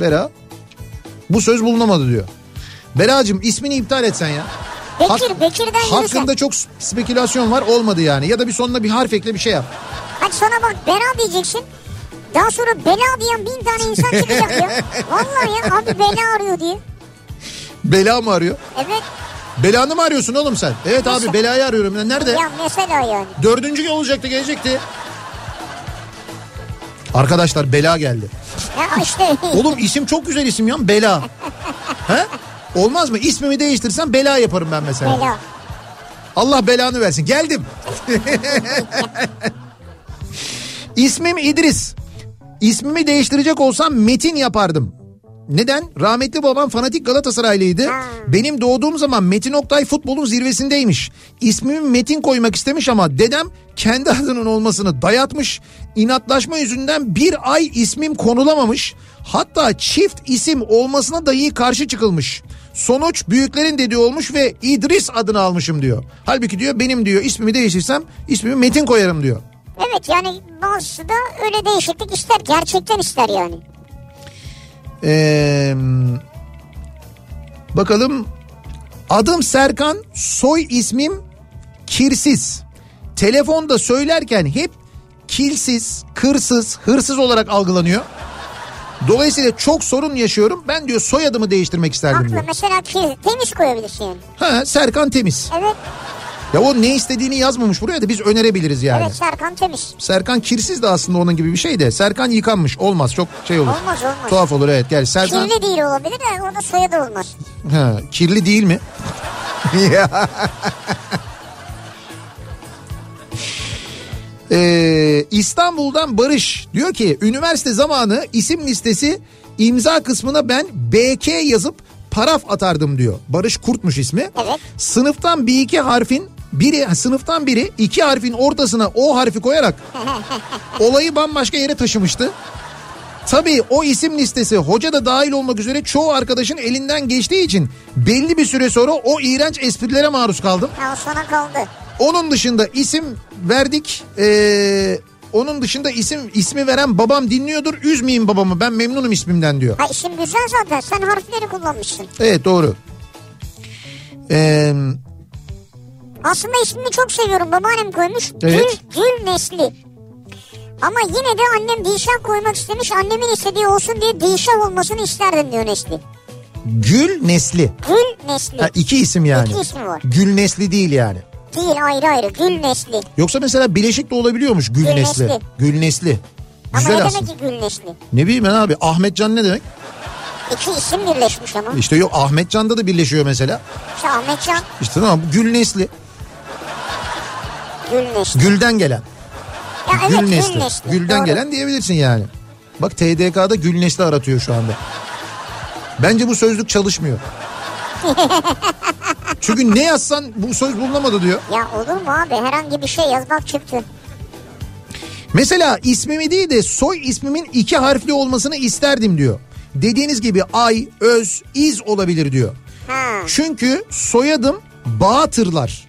B: Bera. Bu söz bulunamadı diyor. Beracığım ismini iptal etsen ya.
C: Bekir, Bekir'den yürüsen.
B: Hakkında çok spekülasyon var olmadı yani. Ya da bir sonuna bir harf ekle bir şey yap.
C: Hadi sana bak bela diyeceksin. Daha sonra bela diyen bin tane insan çıkacak
B: [LAUGHS]
C: ya. Vallahi ya abi bela arıyor diye.
B: Bela mı arıyor?
C: Evet.
B: Belanı mı arıyorsun oğlum sen? Evet abi
C: Nasıl?
B: belayı arıyorum. Ya Nerede?
C: Ya mesela yani.
B: Dördüncü olacaktı gelecekti. Arkadaşlar bela geldi.
C: Ya işte. [LAUGHS]
B: Oğlum isim çok güzel isim ya bela. He? Olmaz mı? İsmimi değiştirsem bela yaparım ben mesela.
C: bela.
B: Allah belanı versin. Geldim. [LAUGHS] İsmim İdris. İsmimi değiştirecek olsam Metin yapardım. Neden? Rahmetli babam fanatik Galatasaraylıydı. Benim doğduğum zaman Metin Oktay futbolun zirvesindeymiş. İsmimi Metin koymak istemiş ama dedem kendi [LAUGHS] adının olmasını dayatmış. İnatlaşma yüzünden bir ay ismim konulamamış. Hatta çift isim olmasına dahi karşı çıkılmış. Sonuç büyüklerin dediği olmuş ve İdris adını almışım diyor. Halbuki diyor benim diyor ismimi değiştirsem ismimi Metin koyarım diyor.
C: Evet yani bazısı da öyle değişiklik ister. Gerçekten ister yani.
B: Ee, bakalım. Adım Serkan, soy ismim Kirsiz. Telefonda söylerken hep kilsiz, kırsız, hırsız olarak algılanıyor. Dolayısıyla çok sorun yaşıyorum. Ben diyor soyadımı değiştirmek isterdim
C: Haklı
B: diyor.
C: mesela ki temiz koyabilirsin yani.
B: Ha, Serkan Temiz.
C: Evet.
B: Ya o ne istediğini yazmamış buraya da biz önerebiliriz yani.
C: Evet Serkan temiz.
B: Serkan Kirsiz de aslında onun gibi bir şey de. Serkan yıkanmış olmaz çok şey olur.
C: Olmaz, olmaz.
B: Tuhaf olur evet. Gel Serkan
C: Kirli değil olabilir de orada soyadı olmaz.
B: Ha, kirli değil mi? Ya. Ee, İstanbul'dan Barış diyor ki üniversite zamanı isim listesi imza kısmına ben BK yazıp paraf atardım diyor. Barış Kurtmuş ismi.
C: Evet.
B: Sınıftan bir iki harfin biri ha, sınıftan biri iki harfin ortasına o harfi koyarak olayı bambaşka yere taşımıştı. Tabii o isim listesi hoca da dahil olmak üzere çoğu arkadaşın elinden geçtiği için belli bir süre sonra o iğrenç esprilere maruz kaldım.
C: Ya o sona kaldı.
B: Onun dışında isim verdik. Ee, onun dışında isim ismi veren babam dinliyordur. Üzmeyin babamı ben memnunum ismimden diyor.
C: Ha işin güzel zaten sen harfleri kullanmışsın.
B: Evet doğru. Ee,
C: Aslında ismini çok seviyorum babaannem koymuş.
B: Evet.
C: Gül, gül nesli. Ama yine de annem Dilşah koymak istemiş. Annemin istediği olsun diye Dilşah olmasını isterdim diyor Nesli.
B: Gül Nesli.
C: Gül Nesli.
B: Ha, iki isim yani.
C: İki isim var.
B: Gül Nesli değil yani.
C: Değil ayrı ayrı. Gül Nesli.
B: Yoksa mesela bileşik de olabiliyormuş Gül,
C: Gül
B: Nesli.
C: Nesli.
B: Gül Nesli.
C: Ama
B: Güzel
C: ne
B: aslında.
C: demek ki Gül Nesli?
B: Ne bileyim ben abi Ahmet Can ne demek?
C: İki isim birleşmiş ama.
B: İşte yok Ahmet Can'da da birleşiyor mesela.
C: İşte Ahmetcan,
B: İşte tamam bu Gül Nesli.
C: Gül Nesli.
B: Gülden gelen.
C: Ya evet
B: Gül
C: Gül
B: Nesli.
C: Nesli.
B: Gülden
C: Doğru.
B: gelen diyebilirsin yani. Bak TDK'da Gül Nesli aratıyor şu anda. Bence bu sözlük
C: [LAUGHS]
B: çalışmıyor. Çünkü ne yazsan bu söz bulunamadı diyor.
C: Ya olur mu abi herhangi bir şey yaz bak çıktı.
B: Mesela ismimi değil de soy ismimin iki harfli olmasını isterdim diyor. Dediğiniz gibi ay, öz, iz olabilir diyor.
C: Ha.
B: Çünkü soyadım Bağatırlar.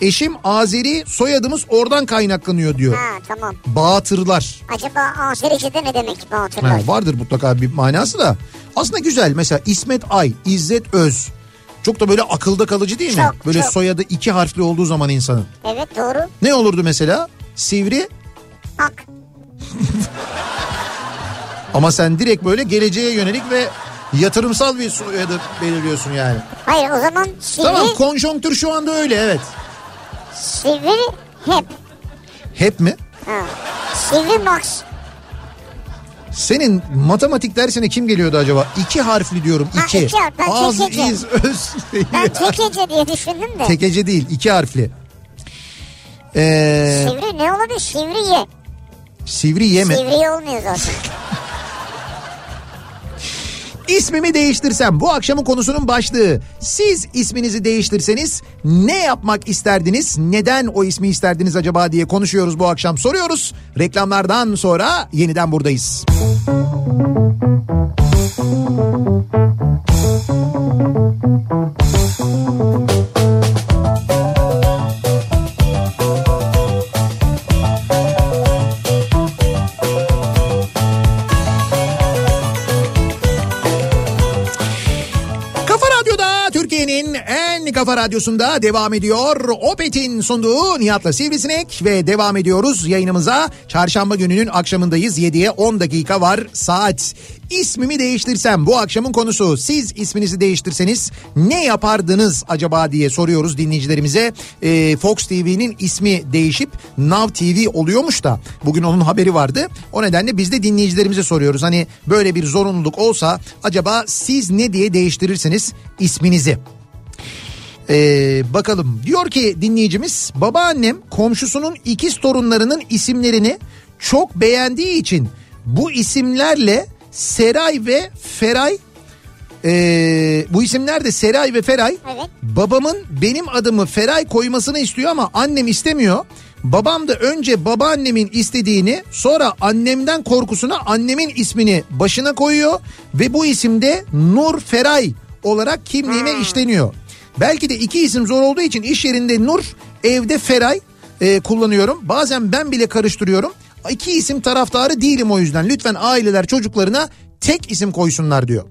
B: Eşim Azeri soyadımız oradan kaynaklanıyor diyor.
C: Ha tamam.
B: Bağatırlar.
C: Acaba Azerici'de ne demek Bahatırlar?
B: Ha, vardır mutlaka bir manası da. Aslında güzel mesela İsmet Ay, İzzet Öz. Çok da böyle akılda kalıcı değil mi?
C: Çok,
B: böyle
C: çok.
B: soyadı iki harfli olduğu zaman insanın.
C: Evet doğru.
B: Ne olurdu mesela? Sivri
C: Hak.
B: ama sen direkt böyle geleceğe yönelik ve yatırımsal bir soyadı belirliyorsun yani.
C: Hayır o zaman sivri,
B: Tamam konjonktür şu anda öyle evet.
C: sivri hep.
B: Hep mi?
C: Ha. Sivri max.
B: Senin matematik dersine kim geliyordu acaba? İki harfli diyorum
C: Ha,
B: iki.
C: iki harf, ben
B: Az,
C: tekece.
B: iz, öz.
C: Ben tekece diye düşündüm de.
B: Tekece değil iki harfli. Ee,
C: Sivri ne olabilir? Sivriye.
B: sivri yeme.
C: Sivriye olmuyor zaten.
B: İsmimi değiştirsem bu akşamın konusunun başlığı. Siz isminizi değiştirseniz ne yapmak isterdiniz? Neden o ismi isterdiniz acaba diye konuşuyoruz bu akşam soruyoruz. Reklamlardan sonra yeniden buradayız. Kafa Radyosu'nda devam ediyor. Opet'in sunduğu Nihat'la Sivrisinek ve devam ediyoruz yayınımıza. Çarşamba gününün akşamındayız. 7'ye 10 dakika var saat. İsmimi değiştirsem bu akşamın konusu. Siz isminizi değiştirseniz ne yapardınız acaba diye soruyoruz dinleyicilerimize. Ee, Fox TV'nin ismi değişip Now TV oluyormuş da bugün onun haberi vardı. O nedenle biz de dinleyicilerimize soruyoruz. Hani böyle bir zorunluluk olsa acaba siz ne diye değiştirirsiniz isminizi? Ee, bakalım diyor ki dinleyicimiz babaannem komşusunun ikiz torunlarının isimlerini çok beğendiği için bu isimlerle Seray ve Feray ee, bu isimler de Seray ve Feray
C: Evet.
B: babamın benim adımı Feray koymasını istiyor ama annem istemiyor. Babam da önce babaannemin istediğini sonra annemden korkusuna annemin ismini başına koyuyor ve bu isimde Nur Feray olarak kimliğime işleniyor. Belki de iki isim zor olduğu için iş yerinde Nur, evde Feray e, kullanıyorum. Bazen ben bile karıştırıyorum. İki isim taraftarı değilim o yüzden. Lütfen aileler çocuklarına tek isim koysunlar diyor.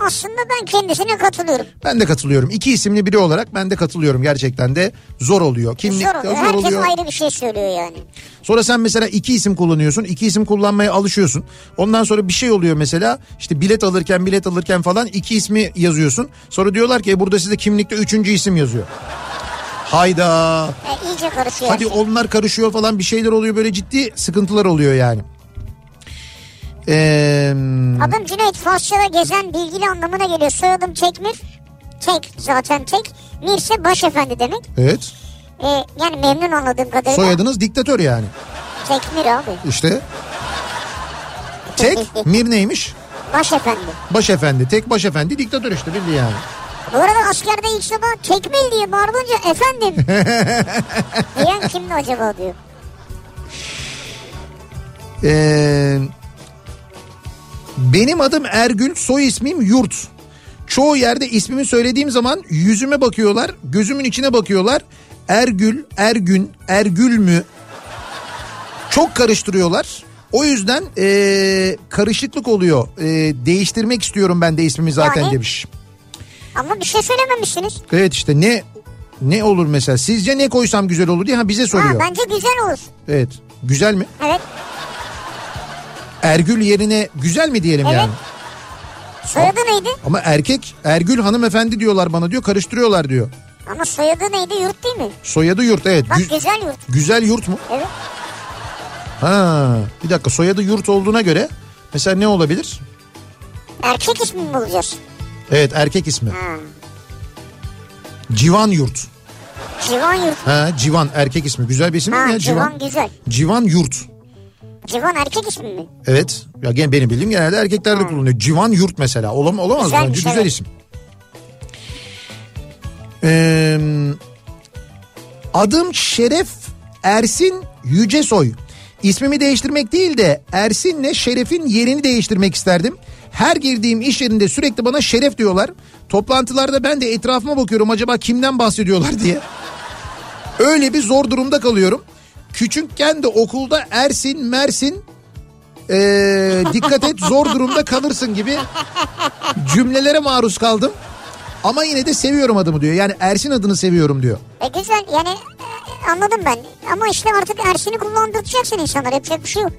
C: Aslında ben kendisine katılıyorum.
B: Ben de katılıyorum. İki isimli biri olarak ben de katılıyorum. Gerçekten de zor oluyor. Kimlik
C: Zor
B: zor,
C: oluyor. Herkes
B: oluyor.
C: ayrı bir şey söylüyor yani.
B: Sonra sen mesela iki isim kullanıyorsun. iki isim kullanmaya alışıyorsun. Ondan sonra bir şey oluyor mesela. işte bilet alırken bilet alırken falan iki ismi yazıyorsun. Sonra diyorlar ki "E, burada size kimlikte üçüncü isim yazıyor. [LAUGHS] Hayda.
C: E, iyice karışıyor.
B: Hadi onlar karışıyor falan bir şeyler oluyor böyle ciddi sıkıntılar oluyor yani. Ee,
C: Adım Cüneyt Farsça'da gezen bilgili anlamına geliyor. Soyadım Tekmir. Tek zaten tek. Mirse başefendi demek.
B: evet.
C: E, yani memnun anladığım kadarıyla.
B: Soyadınız diktatör yani.
C: Tekmir abi.
B: İşte. Tek
C: [LAUGHS]
B: Mir neymiş?
C: Başefendi.
B: Başefendi. Tek başefendi diktatör işte bildi yani.
C: Bu arada askerde ilk sabah tekmil diye
B: [LAUGHS]
C: bağırınca efendim. Diyen kimdi acaba diyor.
B: Ee, benim adım Ergün, soy ismim Yurt. Çoğu yerde ismimi söylediğim zaman yüzüme bakıyorlar, gözümün içine bakıyorlar. Ergül, Ergün, Ergül mü? Çok karıştırıyorlar. O yüzden ee, karışıklık oluyor. E, değiştirmek istiyorum ben de ismimi zaten
C: Yani?
B: demiş.
C: Ama bir şey söylememişsiniz.
B: Evet işte ne ne olur mesela sizce ne koysam güzel olur diye ha bize
C: Ha,
B: soruyor.
C: bence güzel olur.
B: Evet. Güzel mi?
C: Evet.
B: Ergül yerine güzel mi diyelim
C: Evet.
B: yani?
C: Soyadı neydi?
B: Ama erkek Ergül hanımefendi diyorlar bana diyor karıştırıyorlar diyor.
C: Ama soyadı neydi? Yurt değil mi?
B: Soyadı yurt evet.
C: Bak
B: Gü-
C: güzel yurt.
B: güzel yurt mu?
C: Evet.
B: Ha. Bir dakika soyadı yurt olduğuna göre mesela ne olabilir?
C: Erkek ismi mi bulacağız?
B: Evet erkek ismi.
C: Ha.
B: Civan yurt.
C: Civan yurt.
B: Ha Civan erkek ismi. Güzel bir isim değil mi
C: Ha,
B: ya
C: civan
B: Civan?
C: güzel.
B: Civan yurt.
C: Civan erkek ismi mi?
B: Evet. Ya gene benim bildiğim genelde erkeklerde kullanılıyor. Civan Yurt mesela. Olam olamaz mı?
C: Güzelmiş,
B: Bence güzel
C: evet.
B: isim. Ee, adım Şeref Ersin Yücesoy. İsmimi değiştirmek değil de Ersin'le Şeref'in yerini değiştirmek isterdim. Her girdiğim iş yerinde sürekli bana Şeref diyorlar. Toplantılarda ben de etrafıma bakıyorum acaba kimden bahsediyorlar diye. Öyle bir zor durumda kalıyorum. Küçükken de okulda Ersin, Mersin ee, dikkat et zor durumda kalırsın gibi cümlelere maruz kaldım. Ama yine de seviyorum adımı diyor. Yani Ersin adını seviyorum diyor.
C: E güzel yani e, anladım ben. Ama işte artık Ersin'i kullandıracaksın insanlar. Yapacak bir şey yok.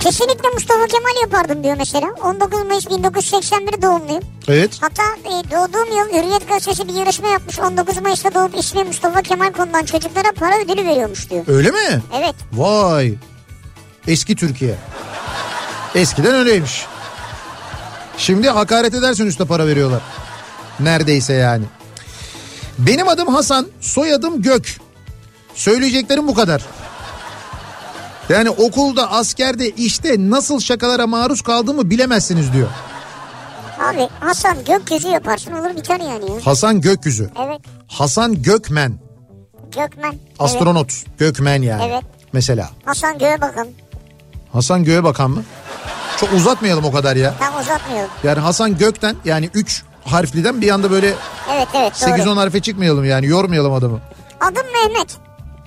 C: Kesinlikle Mustafa Kemal yapardım diyor mesela. 19 Mayıs 1981 doğumluyum.
B: Evet.
C: Hatta e, doğduğum yıl Hürriyet Gazetesi bir yarışma yapmış. 19 Mayıs'ta doğup ismi Mustafa Kemal konulan çocuklara para ödülü veriyormuş diyor.
B: Öyle mi?
C: Evet.
B: Vay. Eski Türkiye. Eskiden öyleymiş. Şimdi hakaret edersen üste para veriyorlar. Neredeyse yani. Benim adım Hasan, soyadım Gök. Söyleyeceklerim bu kadar. Yani okulda, askerde, işte nasıl şakalara maruz kaldığımı bilemezsiniz diyor.
C: Abi Hasan gökyüzü yaparsın olur biter yani ya.
B: Hasan Gökyüzü.
C: Evet.
B: Hasan Gökmen.
C: Gökmen. Evet.
B: Astronot. Gökmen yani.
C: Evet.
B: Mesela.
C: Hasan göğe bakın.
B: Hasan Göğe bakan mı? Çok uzatmayalım o kadar ya.
C: Tam uzatmıyorum.
B: Yani Hasan Gök'ten yani 3 harfliden bir anda böyle
C: Evet evet doğru.
B: 8-10 harfe çıkmayalım yani yormayalım adamı.
C: Adım Mehmet.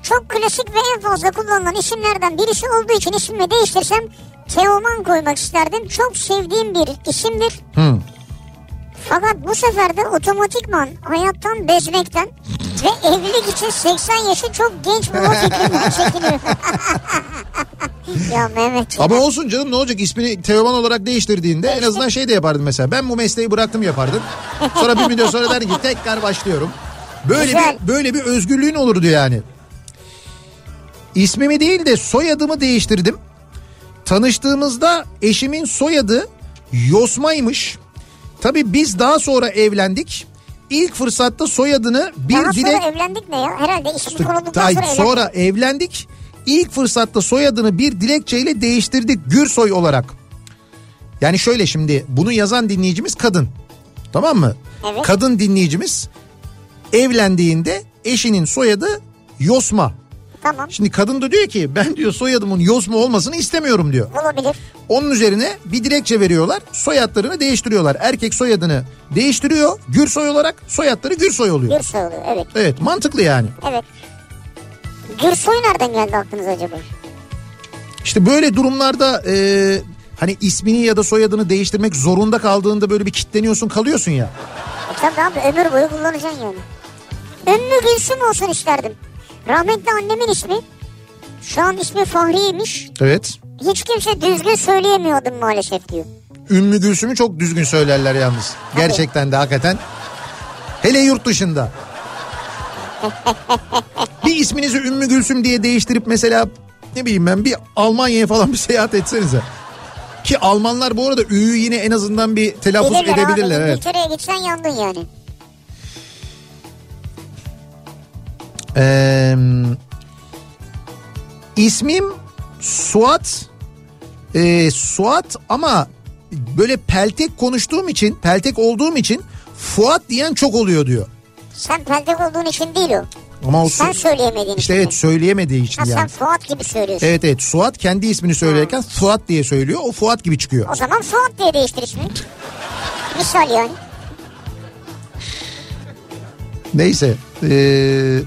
C: Çok klasik ve en fazla kullanılan isimlerden birisi olduğu için ismimi değiştirsem Teoman koymak isterdim. Çok sevdiğim bir isimdir.
B: Hı.
C: Fakat bu sefer de otomatikman hayattan bezmekten ve evlilik için 80 yaşı çok genç
B: [LAUGHS]
C: bulma fikrinden çekiniyor. [LAUGHS] ya Mehmet.
B: Ama olsun canım ne olacak ismini Teoman olarak değiştirdiğinde en azından şey de yapardın mesela. Ben bu mesleği bıraktım yapardın. Sonra bir müddet sonra derdin ki tekrar başlıyorum. Böyle
C: Güzel.
B: bir böyle bir özgürlüğün olurdu yani. İsmimi değil de soyadımı değiştirdim. Tanıştığımızda eşimin soyadı Yosma'ymış. Tabii biz daha sonra evlendik. İlk fırsatta soyadını bir
C: Daha
B: dilek
C: sonra evlendik ne ya? Herhalde işimiz konulduktan
B: Hayır,
C: sonra evlendik.
B: sonra evlendik. İlk fırsatta soyadını bir dilekçeyle değiştirdik Gürsoy olarak. Yani şöyle şimdi bunu yazan dinleyicimiz kadın. Tamam mı?
C: Evet.
B: Kadın dinleyicimiz evlendiğinde eşinin soyadı Yosma.
C: Tamam
B: Şimdi kadın da diyor ki ben diyor soyadımın Yosma olmasını istemiyorum diyor.
C: olabilir.
B: Onun üzerine bir dilekçe veriyorlar. Soyadlarını değiştiriyorlar. Erkek soyadını değiştiriyor. Gürsoy olarak soyadları Gürsoy oluyor.
C: Gürsoy şey oluyor evet.
B: Evet mantıklı yani.
C: Evet. Gürsoy nereden geldi aklınıza acaba?
B: İşte böyle durumlarda e, hani ismini ya da soyadını değiştirmek zorunda kaldığında böyle bir kitleniyorsun kalıyorsun ya.
C: E tabii abi ömür boyu kullanacaksın yani. Ümmü Gülsüm olsun isterdim. Rahmetli annemin ismi. Şu an ismi Fahri'ymiş.
B: Evet.
C: Hiç kimse düzgün söyleyemiyordum maalesef diyor.
B: Ümmü Gülsüm'ü çok düzgün söylerler yalnız. Gerçekten de hakikaten. Hele yurt dışında. bir isminizi Ümmü Gülsüm diye değiştirip mesela ne bileyim ben bir Almanya'ya falan bir seyahat etsenize. Ki Almanlar bu arada ü'yü yine en azından bir telaffuz
C: Bilirler
B: edebilirler.
C: abi.
B: Evet.
C: İngiltere'ye gitsen yandın yani.
B: Ee, ismim Suat. Ee, Suat ama böyle peltek konuştuğum için, peltek olduğum için Fuat diyen çok oluyor diyor.
C: Sen peltek olduğun için değil o.
B: Ama o
C: Sen
B: Su-
C: söyleyemediğin
B: işte
C: için.
B: evet söyleyemediği için
C: Ha, sen
B: yani.
C: Fuat gibi söylüyorsun.
B: Evet evet Suat kendi ismini söylerken Fuat diye söylüyor. O Fuat gibi çıkıyor.
C: O zaman Fuat diye değiştir ismini. Misal yani.
B: Neyse. Ee,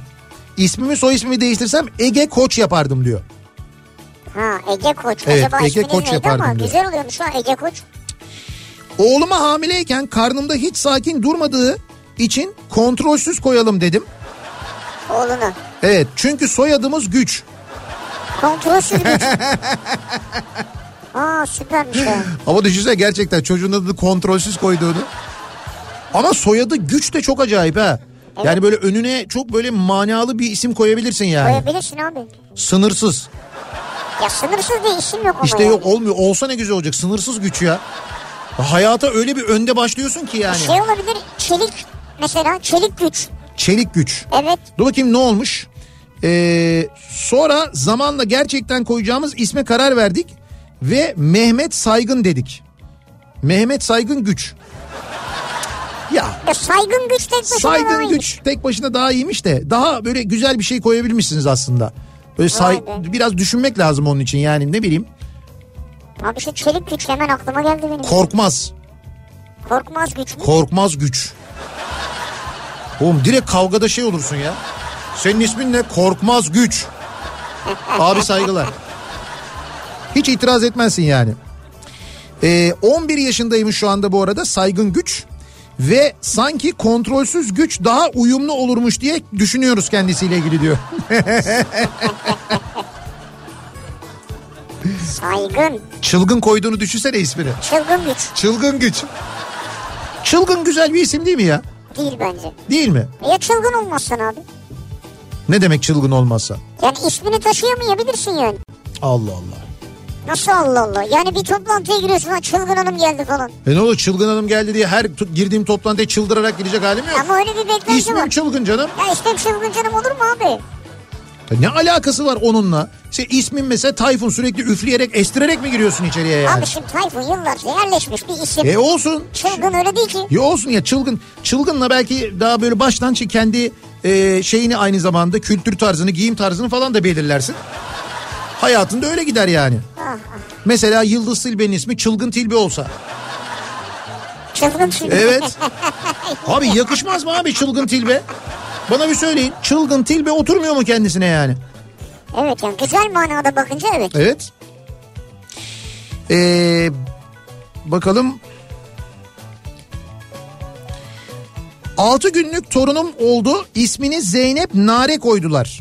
B: ismimi soy ismimi değiştirsem Ege Koç yapardım diyor.
C: Ha Ege Koç.
B: Evet,
C: Acaba
B: Ege
C: isminiz
B: Koç
C: neydi
B: yapardım
C: ama
B: diyor.
C: güzel oluyormuş ha Ege Koç.
B: Oğluma hamileyken karnımda hiç sakin durmadığı için kontrolsüz koyalım dedim.
C: Oğlunu.
B: Evet çünkü soyadımız güç.
C: Kontrolsüz güç. Aa süpermiş ya.
B: Ama düşünsene gerçekten çocuğun adını kontrolsüz koyduğunu. Ama soyadı güç de çok acayip ha. Yani böyle önüne çok böyle manalı bir isim koyabilirsin yani.
C: Koyabilirsin abi.
B: Sınırsız.
C: Ya sınırsız diye işim yok ama.
B: İşte
C: yani.
B: yok olmuyor. Olsa ne güzel olacak. Sınırsız güç ya. Hayata öyle bir önde başlıyorsun ki yani.
C: Şey olabilir çelik mesela çelik güç.
B: Çelik güç.
C: Evet
B: Dur bakayım ne olmuş? Ee, sonra zamanla gerçekten koyacağımız isme karar verdik ve Mehmet Saygın dedik. Mehmet Saygın Güç. Ya
C: ya saygın güç tek başına daha
B: Saygın
C: iyiymiş.
B: Güç tek başına daha iyiymiş de daha böyle güzel bir şey koyabilmişsiniz aslında. Böyle say
C: Vay be.
B: biraz düşünmek lazım onun için yani ne bileyim
C: Abi şu çelik güç hemen aklıma geldi benim.
B: korkmaz
C: Korkmaz güç mü?
B: korkmaz güç. Oğlum direkt kavgada şey olursun ya. Senin ismin ne? Korkmaz güç. Abi saygılar. Hiç itiraz etmezsin yani. Ee, 11 yaşındayım şu anda bu arada saygın güç. Ve sanki kontrolsüz güç daha uyumlu olurmuş diye düşünüyoruz kendisiyle ilgili diyor.
C: Saygın.
B: Çılgın koyduğunu düşünsene ismini.
C: Çılgın güç.
B: Çılgın güç. Çılgın güzel bir isim değil mi ya?
C: Değil bence.
B: Değil mi?
C: Ya çılgın olmazsan abi.
B: Ne demek çılgın olmazsa?
C: Yani ismini taşıyamayabilirsin yani.
B: Allah Allah.
C: Nasıl Allah Allah. Yani bir toplantıya giriyorsun ha çılgın hanım geldi falan.
B: E ne olur çılgın hanım geldi diye her tu- girdiğim toplantıya çıldırarak gidecek halim yok.
C: Ama öyle bir beklenti
B: İsmim
C: var.
B: çılgın canım.
C: Ya ismim çılgın canım olur mu abi?
B: Ya Ne alakası var onunla? İşte ismin mesela Tayfun sürekli üfleyerek estirerek mi giriyorsun içeriye yani?
C: Abi Şey- şimdi Tayfun yıllarca yerleşmiş bir isim.
B: E olsun.
C: Çılgın öyle değil ki.
B: Ya olsun ya çılgın. Çılgınla belki daha böyle baştan çi- kendi e, şeyini aynı zamanda kültür tarzını, giyim tarzını falan da belirlersin. Hayatında öyle gider yani.
C: Ah,
B: Mesela Yıldız Tilbe'nin ismi Çılgın Tilbe olsa.
C: Çılgın çılgın.
B: Evet. Abi yakışmaz mı abi çılgın tilbe? Bana bir söyleyin. Çılgın tilbe oturmuyor mu kendisine yani?
C: evet yani güzel manada bakınca evet.
B: Evet. Ee, bakalım. 6 günlük torunum oldu. İsmini Zeynep Nare koydular.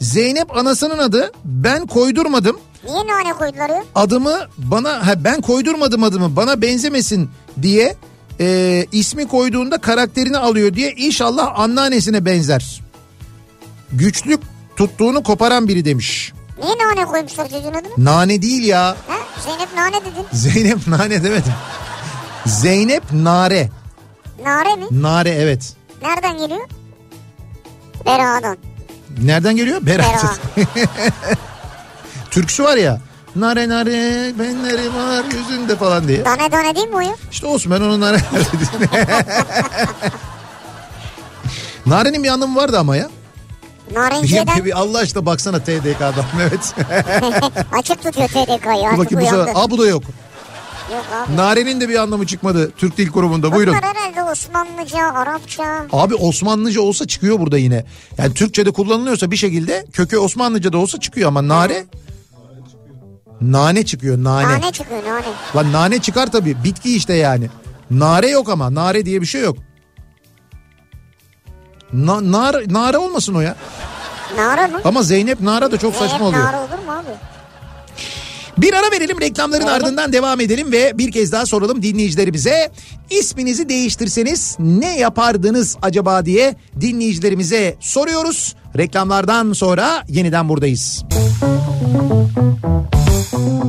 B: Zeynep anasının adı. Ben koydurmadım.
C: Niye nane koydular ya?
B: adımı bana ha ben koydurmadım adımı bana benzemesin diye e, ismi koyduğunda karakterini alıyor diye inşallah anneannesine benzer. Güçlük tuttuğunu koparan biri demiş.
C: Niye nane koymuşlar çocuğun adını?
B: Nane değil ya.
C: Ha? Zeynep nane dedin.
B: Zeynep nane demedim. Zeynep Nare.
C: Nare mi?
B: Nare evet.
C: Nereden geliyor?
B: [LAUGHS]
C: Bera'dan.
B: Nereden geliyor? Berat.
C: Berat.
B: Türküsü var ya. Nare nare benleri var yüzünde falan diye.
C: Dane dane değil mi o ya?
B: İşte olsun ben onu nare [LAUGHS] dedim. Narenin bir anlamı vardı ama ya. Bir, bir-
C: Narenciye'den
B: bir Allah aşkına baksana TDK'dan [LAUGHS] evet.
C: [LAUGHS] açık tutuyor TDK'yı
B: Dur
C: artık
B: bakayım bu
C: uyandı.
B: sefer. Aa bu da yok.
C: Yok abi.
B: Narenin de bir anlamı çıkmadı Türk Dil Kurumu'nda buyurun. Hani?
C: Bunlar herhalde Osmanlıca, Arapça.
B: Abi Osmanlıca olsa çıkıyor burada yine. Yani Türkçe'de kullanılıyorsa bir şekilde kökü Osmanlıca'da olsa çıkıyor ama nare... Nane çıkıyor nane.
C: Nane çıkıyor nane.
B: Lan nane çıkar tabii bitki işte yani. Nare yok ama nare diye bir şey yok. Na, nar, nare olmasın o ya.
C: Nara mı?
B: Ama Zeynep Nara da çok saçma
C: Zeynep
B: oluyor.
C: Nara olur mu abi?
B: Bir ara verelim reklamların ardından devam edelim ve bir kez daha soralım dinleyicilerimize. İsminizi değiştirseniz ne yapardınız acaba diye dinleyicilerimize soruyoruz. Reklamlardan sonra yeniden buradayız.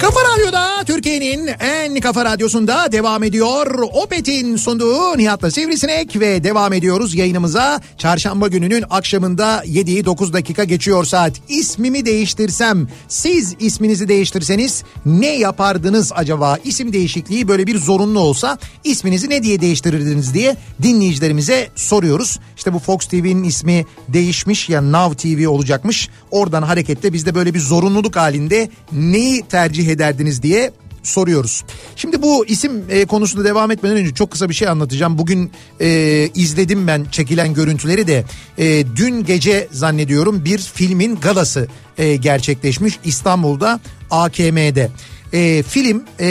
B: Kafa Radyo'da Türkiye'nin en kafa radyosunda devam ediyor. Opet'in sunduğu Nihat'la Sivrisinek ve devam ediyoruz yayınımıza. Çarşamba gününün akşamında 7'yi 9 dakika geçiyor saat. İsmimi değiştirsem, siz isminizi değiştirseniz ne yapardınız acaba? İsim değişikliği böyle bir zorunlu olsa isminizi ne diye değiştirirdiniz diye dinleyicilerimize soruyoruz. İşte bu Fox TV'nin ismi değişmiş ya Now TV olacakmış. Oradan hareketle biz de böyle bir zorunluluk halinde neyi tercih ederdiniz diye soruyoruz. Şimdi bu isim e, konusunda devam etmeden önce çok kısa bir şey anlatacağım. Bugün e, izledim ben çekilen görüntüleri de E, dün gece zannediyorum bir filmin galası e, gerçekleşmiş İstanbul'da AKM'de. E, film e,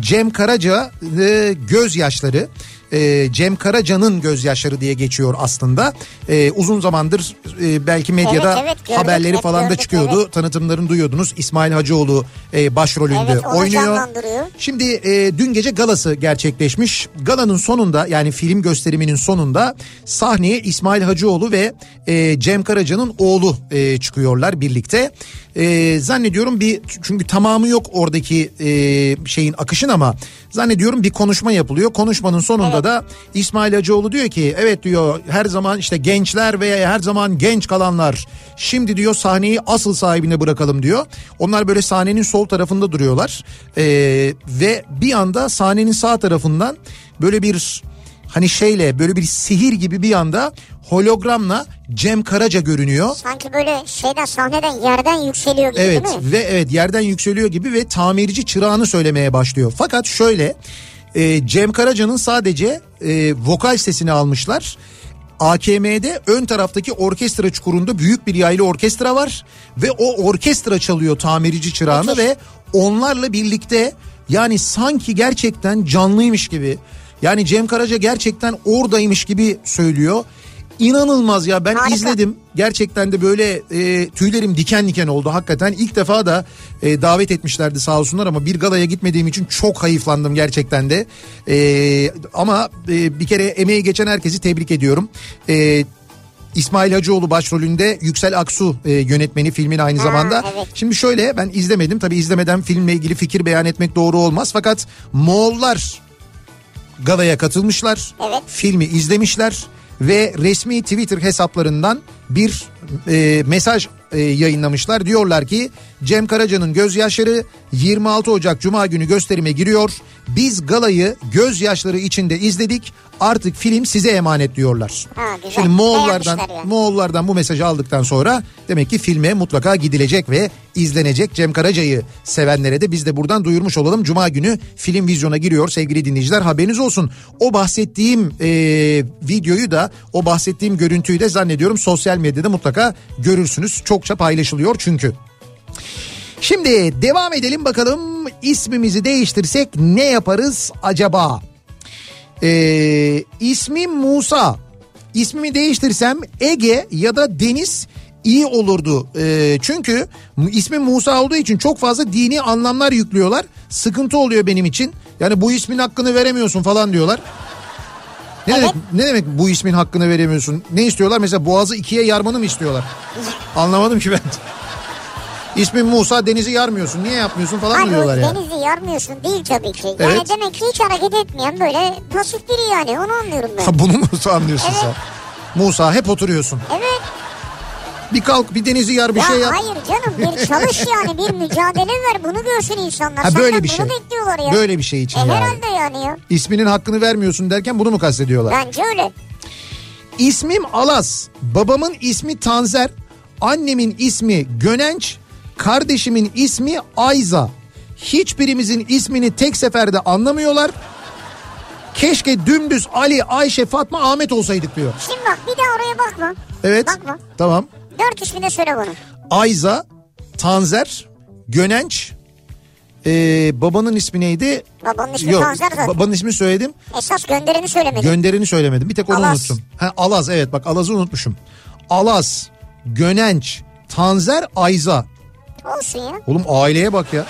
B: Cem Karaca e, gözyaşları e, Cem Karaca'nın gözyaşları diye geçiyor aslında. E, uzun zamandır e, belki medyada
C: Evet, evet, gördük,
B: haberleri
C: hep
B: falan da
C: gördük,
B: çıkıyordu. Tanıtımlarını duyuyordunuz. İsmail Hacıoğlu e, başrolünde
C: Evet, onu
B: oynuyor.
C: canlandırıyor.
B: Şimdi e, dün gece galası gerçekleşmiş. Galanın sonunda yani film gösteriminin sonunda sahneye İsmail Hacıoğlu ve e, Cem Karaca'nın oğlu e, çıkıyorlar birlikte. E, zannediyorum bir çünkü tamamı yok oradaki e, şeyin akışın ama zannediyorum bir konuşma yapılıyor. Konuşmanın sonunda da İsmail Hacıoğlu diyor ki evet diyor her zaman işte gençler veya her zaman genç kalanlar şimdi diyor sahneyi asıl sahibine bırakalım diyor. Onlar böyle sahnenin sol tarafında duruyorlar Ee, ve bir anda sahnenin sağ tarafından böyle bir hani şeyle böyle bir sihir gibi bir anda hologramla Cem Karaca görünüyor.
C: Sanki böyle şeyden sahneden yerden yükseliyor gibi
B: Evet
C: değil mi?
B: ve evet yerden yükseliyor gibi ve tamirci çırağını söylemeye başlıyor. Fakat şöyle e, Cem Karaca'nın sadece e, vokal sesini almışlar. AKM'de ön taraftaki orkestra çukurunda büyük bir yaylı orkestra var ve o orkestra çalıyor tamirci çırağını
C: Müthiş.
B: ve onlarla birlikte yani sanki gerçekten canlıymış gibi yani Cem Karaca gerçekten oradaymış gibi söylüyor. İnanılmaz ya ben
C: Harika.
B: izledim gerçekten de böyle e, tüylerim diken diken oldu hakikaten. ilk defa da e, davet etmişlerdi sağ olsunlar ama bir galaya gitmediğim için çok hayıflandım gerçekten de. E, ama e, bir kere emeği geçen herkesi tebrik ediyorum. E, İsmail Hacıoğlu başrolünde Yüksel Aksu e, yönetmeni filmin aynı zamanda.
C: evet.
B: Şimdi şöyle ben izlemedim tabii izlemeden filmle ilgili fikir beyan etmek doğru olmaz fakat Moğollar galaya katılmışlar.
C: Evet.
B: Filmi izlemişler ve resmi Twitter hesaplarından bir e, mesaj e, yayınlamışlar. Diyorlar ki Cem Karaca'nın gözyaşları 26 Ocak Cuma günü gösterime giriyor. Biz galayı gözyaşları içinde izledik. Artık film size emanet diyorlar.
C: Ha, güzel.
B: Şimdi Moğollardan
C: Beğenmişler yani.
B: Moğollardan bu mesajı aldıktan sonra demek ki filme mutlaka gidilecek ve izlenecek. Cem Karaca'yı sevenlere de biz de buradan duyurmuş olalım. Cuma günü film vizyona giriyor sevgili dinleyiciler haberiniz olsun. O bahsettiğim e, videoyu da o bahsettiğim görüntüyü de zannediyorum sosyal medyada mutlaka görürsünüz. Çokça paylaşılıyor çünkü. Şimdi devam edelim bakalım ismimizi değiştirsek ne yaparız acaba? Ee, ismim Musa. İsmimi değiştirsem Ege ya da Deniz iyi olurdu. Ee, çünkü m- ismim Musa olduğu için çok fazla dini anlamlar yüklüyorlar. Sıkıntı oluyor benim için. Yani bu ismin hakkını veremiyorsun falan diyorlar. Ne demek, ne demek bu ismin hakkını veremiyorsun? Ne istiyorlar? Mesela boğazı ikiye yarmanı mı istiyorlar? Anlamadım ki ben. İsmin Musa denizi yarmıyorsun. Niye yapmıyorsun falan mı
C: Abi
B: diyorlar yani.
C: denizi yarmıyorsun değil tabii ki. Yani
B: Evet.
C: demek ki hiç hareket etmeyen böyle pasif biri yani onu anlıyorum ben.
B: Ha, [LAUGHS] bunu mu anlıyorsun sen? Musa hep oturuyorsun.
C: Evet.
B: Bir kalk bir denizi yar bir
C: ya
B: şey yap.
C: hayır canım bir çalış yani bir mücadele ver bunu görsün insanlar.
B: Ha,
C: Senden
B: böyle bir şey.
C: Bunu bekliyorlar ya.
B: Böyle bir şey için
C: E,
B: yani.
C: Herhalde yani ya.
B: İsminin hakkını vermiyorsun derken bunu mu kastediyorlar?
C: Bence öyle.
B: İsmim Alas, babamın ismi Tanzer, annemin ismi Gönenç, kardeşimin ismi Ayza. Hiçbirimizin ismini tek seferde anlamıyorlar. Keşke dümdüz Ali, Ayşe, Fatma, Ahmet olsaydık diyor.
C: Şimdi bak bir daha oraya bakma.
B: Evet.
C: Bakma.
B: Tamam.
C: Dört ismi de söyle bunu.
B: Ayza, Tanzer, Gönenç. Ee, babanın ismi neydi?
C: Babanın ismi Tanzer zaten.
B: Babanın ismini söyledim.
C: Esas göndereni söylemedin.
B: Gönderini söylemedim. Bir tek onu
C: Alaz.
B: unuttum. Ha, Alaz evet bak Alaz'ı unutmuşum. Alaz, Gönenç, Tanzer, Ayza.
C: Olsun ya.
B: Oğlum aileye bak ya.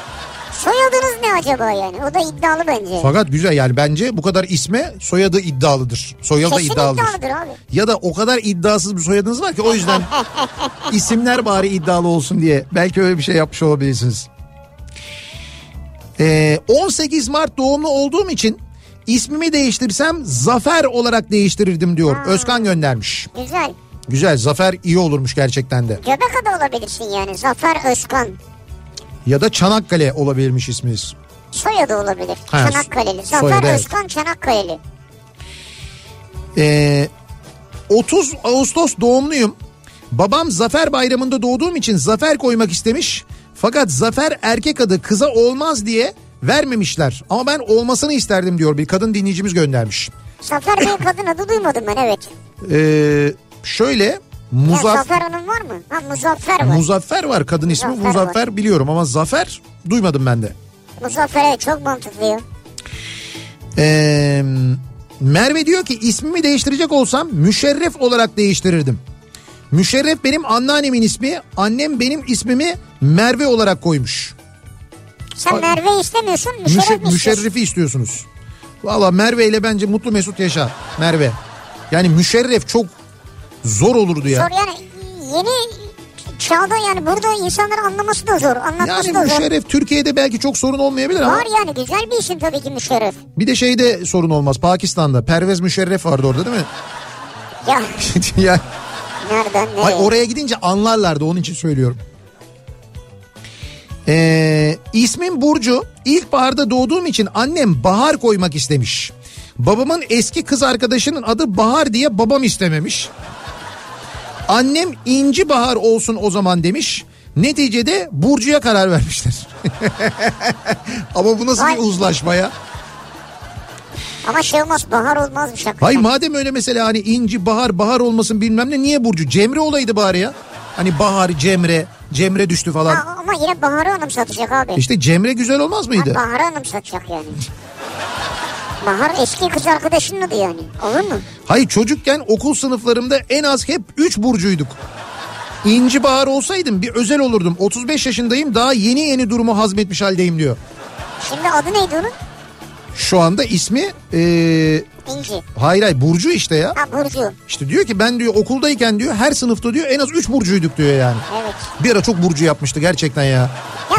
C: Soyadınız ne acaba yani? O da iddialı bence.
B: Fakat güzel yani bence bu kadar isme soyadı iddialıdır. Soyadı da
C: Kesin
B: iddialıdır.
C: iddialıdır abi.
B: Ya da o kadar iddiasız bir soyadınız var ki o yüzden isimler bari iddialı olsun diye. Belki öyle bir şey yapmış olabilirsiniz. Ee, 18 Mart doğumlu olduğum için ismimi değiştirsem Zafer olarak değiştirirdim diyor. Özkan göndermiş.
C: Güzel.
B: Güzel Zafer iyi olurmuş gerçekten de.
C: Göbek adı olabilirsin yani. Zafer Özkan.
B: Ya da Çanakkale olabilirmiş isminiz.
C: Soyadı olabilir.
B: Ha,
C: Çanakkale'li.
B: so-
C: Zafer
B: soyadı, evet.
C: Özkan Çanakkale'li.
B: Ee, 30 Ağustos doğumluyum. Babam Zafer Bayramı'nda doğduğum için Zafer koymak istemiş. Fakat Zafer erkek adı kıza olmaz diye vermemişler. Ama ben olmasını isterdim diyor bir kadın dinleyicimiz göndermiş.
C: Zafer Bey kadın adı duymadım ben evet.
B: Ee, şöyle
C: Ya
B: Muzaf
C: Zafer Hanım var mı? Ha Muzaffer var.
B: Muzaffer var kadın ismi.
C: Muzaffer var.
B: Muzaffer biliyorum ama Zafer duymadım ben de.
C: Muzaffer evet çok mantıklı ya.
B: Ee, Merve diyor ki ismimi değiştirecek olsam Müşerref olarak değiştirirdim. Müşerref benim anneannemin ismi. Annem benim ismimi Merve olarak koymuş.
C: Sen
B: Ay.
C: Merve istemiyorsun
B: Müşe-
C: şey Müşerref mi istiyorsun?
B: müşerrefi istiyorsunuz. Valla Merve ile bence mutlu mesut yaşa Merve. Yani Müşerref çok zor olurdu ya.
C: Zor yani yeni çağda yani burada insanların anlaması da zor. Anlatması
B: Yani
C: da zor.
B: Müşerref Türkiye'de belki çok sorun olmayabilir ama
C: Var yani güzel bir isim tabii ki Müşerref.
B: bir de şeyde sorun olmaz. Pakistan'da Pervez Müşerref vardı orada değil mi? [LAUGHS]
C: Ya
B: yani
C: nereden nereye?
B: Ay oraya gidince anlarlardı onun için söylüyorum. Ee, ismim Burcu. İlkbaharda doğduğum için annem Bahar koymak istemiş. Babamın eski kız arkadaşının adı Bahar diye babam istememiş. Annem İnci Bahar olsun o zaman demiş. Neticede Burcu'ya karar vermişler. [LAUGHS] Ama bu nasıl
C: Vay.
B: bir uzlaşma ya?
C: Ama şey olmaz bahar olmazmış hakikaten.
B: Hayır madem öyle mesela hani inci bahar bahar olmasın bilmem ne niye Burcu? Cemre olaydı bari ya. Hani bahar Cemre Cemre düştü falan.
C: Ha, ama yine Bahar'ı anımsatacak abi.
B: İşte Cemre güzel olmaz
C: Ha,
B: mıydı?
C: Bahar'ı anımsatacak yani. Bahar eski kız arkadaşının adı yani. Olur mu?
B: Hayır çocukken okul sınıflarımda en az hep 3 Burcu'yduk. İnci bahar olsaydım bir özel olurdum. 35 yaşındayım daha yeni yeni durumu hazmetmiş haldeyim diyor.
C: Şimdi adı neydi onun?
B: Şu anda ismi ee,
C: İnci.
B: hayır hayır Burcu işte ya.
C: Ha Burcu.
B: İşte diyor ki ben diyor okuldayken diyor her sınıfta diyor en az 3 Burcu'yduk diyor yani.
C: Evet.
B: Bir ara çok Burcu yapmıştı gerçekten ya.
C: Ya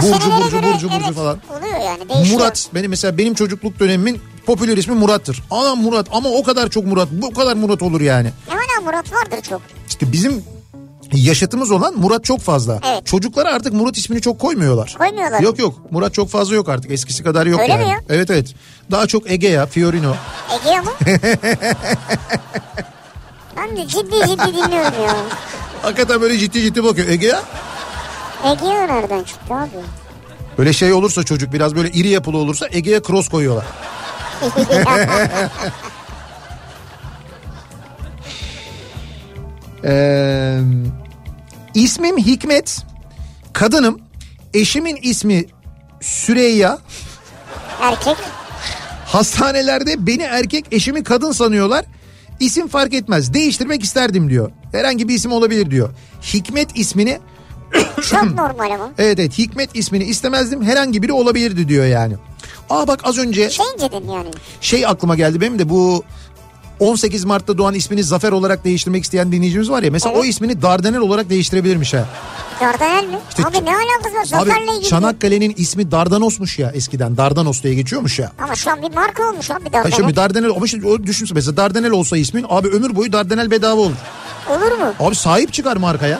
B: Burcu
C: senelere
B: Burcu
C: göre
B: Burcu Burcu
C: evet,
B: falan.
C: Oluyor yani değişiyor.
B: Murat benim mesela benim çocukluk dönemimin popüler ismi Murat'tır. Ana Murat ama o kadar çok Murat bu kadar Murat olur yani.
C: E hala Murat vardır çok.
B: İşte bizim yaşıtımız olan Murat çok fazla.
C: Evet.
B: Çocuklara artık Murat ismini çok koymuyorlar.
C: Koymuyorlar.
B: Yok yok Murat çok fazla yok artık eskisi kadar yok
C: Öyle
B: yani.
C: mi ya?
B: Evet evet. Daha çok Ege ya Fiorino. [LAUGHS]
C: Ege ama. ben de ciddi ciddi dinliyorum ya.
B: Hakikaten böyle ciddi ciddi bakıyor Ege ya.
C: Ege'ye nereden çıktı abi?
B: Böyle şey olursa çocuk biraz böyle iri yapılı olursa Ege'ye cross [LAUGHS] koyuyorlar. Ee, ismim Hikmet. Kadınım. Eşimin ismi Süreyya.
C: Erkek.
B: Hastanelerde beni erkek eşimi kadın sanıyorlar. İsim fark etmez. Değiştirmek isterdim diyor. Herhangi bir isim olabilir diyor. Hikmet ismini [CLEARS THROAT]
C: Çok normal ama.
B: evet evet Hikmet ismini istemezdim. Herhangi biri olabilirdi diyor yani. Aa bak az önce
C: Şey dedin yani.
B: şey aklıma geldi benim de bu 18 Mart'ta doğan ismini Zafer olarak değiştirmek isteyen dinleyicimiz var ya. Mesela
C: Evet.
B: o ismini Dardanel olarak değiştirebilirmiş ha.
C: Dardanel mi? abi ne alakası var? Zafer'le
B: Abi
C: ilgili.
B: Çanakkale'nin ismi Dardanos'muş ya eskiden. Dardanos diye geçiyormuş ya.
C: Ama şu an bir marka olmuş abi Dardanel.
B: Ha şimdi Dardanel ama şimdi o düşünsene mesela Dardanel olsa ismin abi ömür boyu Dardanel bedava olur.
C: Olur mu? [LAUGHS]
B: Abi sahip çıkar markaya.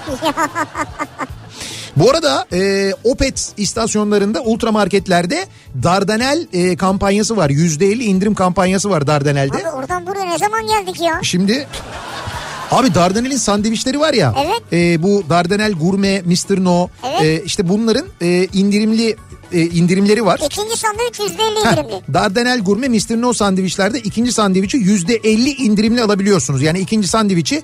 B: Bu arada e, Opet istasyonlarında ultramarketlerde Dardanel e, kampanyası var. %50 indirim kampanyası var Dardanel'de.
C: Abi oradan buraya ne zaman geldik ya?
B: Şimdi Abi Dardanel'in sandviçleri var ya.
C: Evet.
B: e, bu Dardanel Gurme, Mr. No.
C: Evet.
B: e, işte bunların e, indirimli e, indirimleri var.
C: İkinci sandviç yüzde elli
B: Heh,
C: indirimli.
B: Dardanel Gurme Mr. No sandviçlerde ikinci sandviçi %50 indirimli alabiliyorsunuz. Yani ikinci sandviçi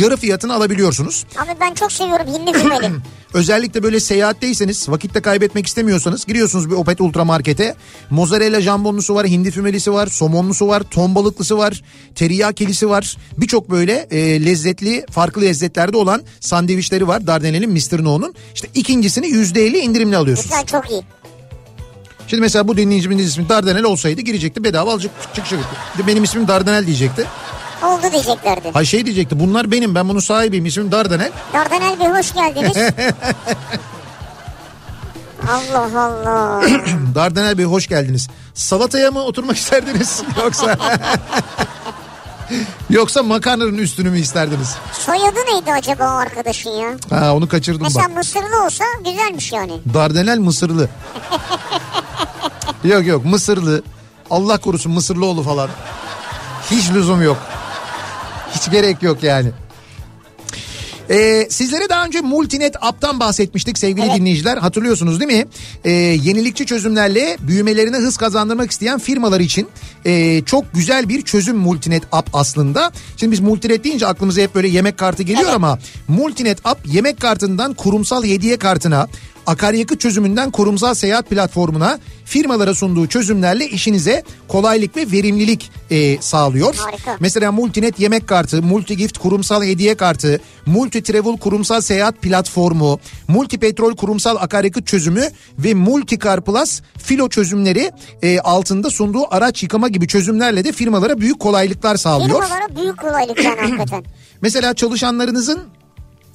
B: yarı fiyatına alabiliyorsunuz.
C: Abi ben çok seviyorum hindi gurmeli.
B: Özellikle böyle seyahatteyseniz vakitte kaybetmek istemiyorsanız giriyorsunuz bir Opet Ultra Market'e. Mozzarella jambonlusu var, hindi fümelisi var, somonlusu var, ton balıklısı var, teriyakilisi var. Birçok böyle e, lezzetli farklı lezzetlerde olan sandviçleri var Dardanel'in Mr. No'nun. İşte ikincisini %50 indirimli alıyorsunuz.
C: Güzel çok iyi.
B: Şimdi mesela bu dinleyicimizin ismi Dardanel olsaydı girecekti bedava alacak çık çık. Benim ismim Dardanel diyecekti.
C: Oldu diyeceklerdi.
B: Hay şey diyecekti bunlar benim ben bunun sahibiyim ismim Dardanel.
C: Dardanel Bey hoş geldiniz. Allah Allah.
B: Dardanel Bey hoş geldiniz. Salataya mı oturmak [LAUGHS] isterdiniz yoksa [LAUGHS] yoksa makarnanın üstünü mü isterdiniz?
C: Soyadı neydi acaba o arkadaşın ya?
B: Ha onu kaçırdım
C: Mesela
B: bak.
C: Mısırlı olsa güzelmiş yani.
B: Dardanel Mısırlı. yok yok Mısırlı. Allah korusun Mısırlıoğlu falan. Hiç lüzum yok. Hiç gerek yok yani. Ee, sizlere daha önce Multinet App'tan bahsetmiştik sevgili dinleyiciler. Hatırlıyorsunuz değil mi? Ee, yenilikçi çözümlerle büyümelerine hız kazandırmak isteyen firmalar için e, çok güzel bir çözüm Multinet App aslında. Şimdi biz Multinet deyince aklımıza hep böyle yemek kartı geliyor ama Multinet App yemek kartından kurumsal hediye kartına, akaryakıt çözümünden kurumsal seyahat platformuna firmalara sunduğu çözümlerle işinize kolaylık ve verimlilik e, sağlıyor.
C: Harika.
B: Mesela Multinet yemek kartı, Multigift kurumsal hediye kartı, Multi Travel kurumsal seyahat platformu, Multi Petrol kurumsal akaryakıt çözümü ve Multicar Plus filo çözümleri e, altında sunduğu araç yıkama gibi çözümlerle de firmalara büyük kolaylıklar sağlıyor.
C: Firmalara büyük kolaylık yani hakikaten.
B: Mesela çalışanlarınızın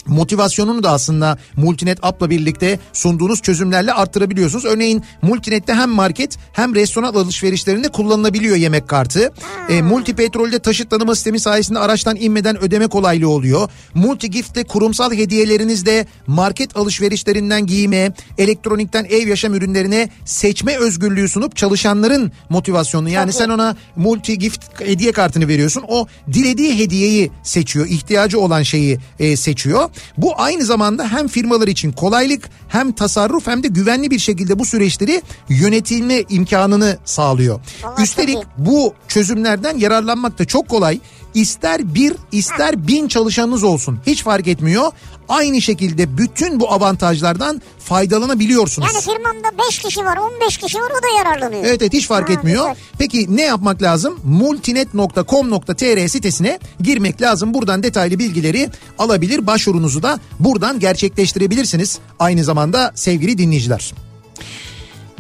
B: motivasyonunu da aslında Multinet app'la birlikte sunduğunuz çözümlerle arttırabiliyorsunuz. Örneğin Multinet'te hem market hem restoran alışverişlerinde kullanılabiliyor yemek kartı. E, Multipetrol'de taşıt tanıma sistemi sayesinde araçtan inmeden ödeme kolaylığı oluyor. Multigift'te kurumsal hediyelerinizde market alışverişlerinden giyime, elektronikten ev yaşam ürünlerine seçme özgürlüğü sunup çalışanların motivasyonunu yani sen ona multi gift hediye kartını veriyorsun. O dilediği hediyeyi seçiyor. ihtiyacı olan şeyi e, seçiyor. Bu aynı zamanda hem firmalar için kolaylık hem tasarruf hem de güvenli bir şekilde bu süreçleri yönetilme imkanını sağlıyor.
C: Vallahi çok
B: Üstelik
C: iyi.
B: bu çözümlerden yararlanmak da çok kolay. İster bir ister bin çalışanınız olsun hiç fark etmiyor. Aynı şekilde bütün bu avantajlardan faydalanabiliyorsunuz.
C: Yani firmamda 5 kişi var 15 kişi var o da yararlanıyor.
B: Evet evet hiç fark
C: Ha,
B: etmiyor.
C: güzel.
B: Peki ne yapmak lazım? multinet.com.tr sitesine girmek lazım. Buradan detaylı bilgileri alabilir. Başvurunuzu da buradan gerçekleştirebilirsiniz. Aynı zamanda sevgili dinleyiciler.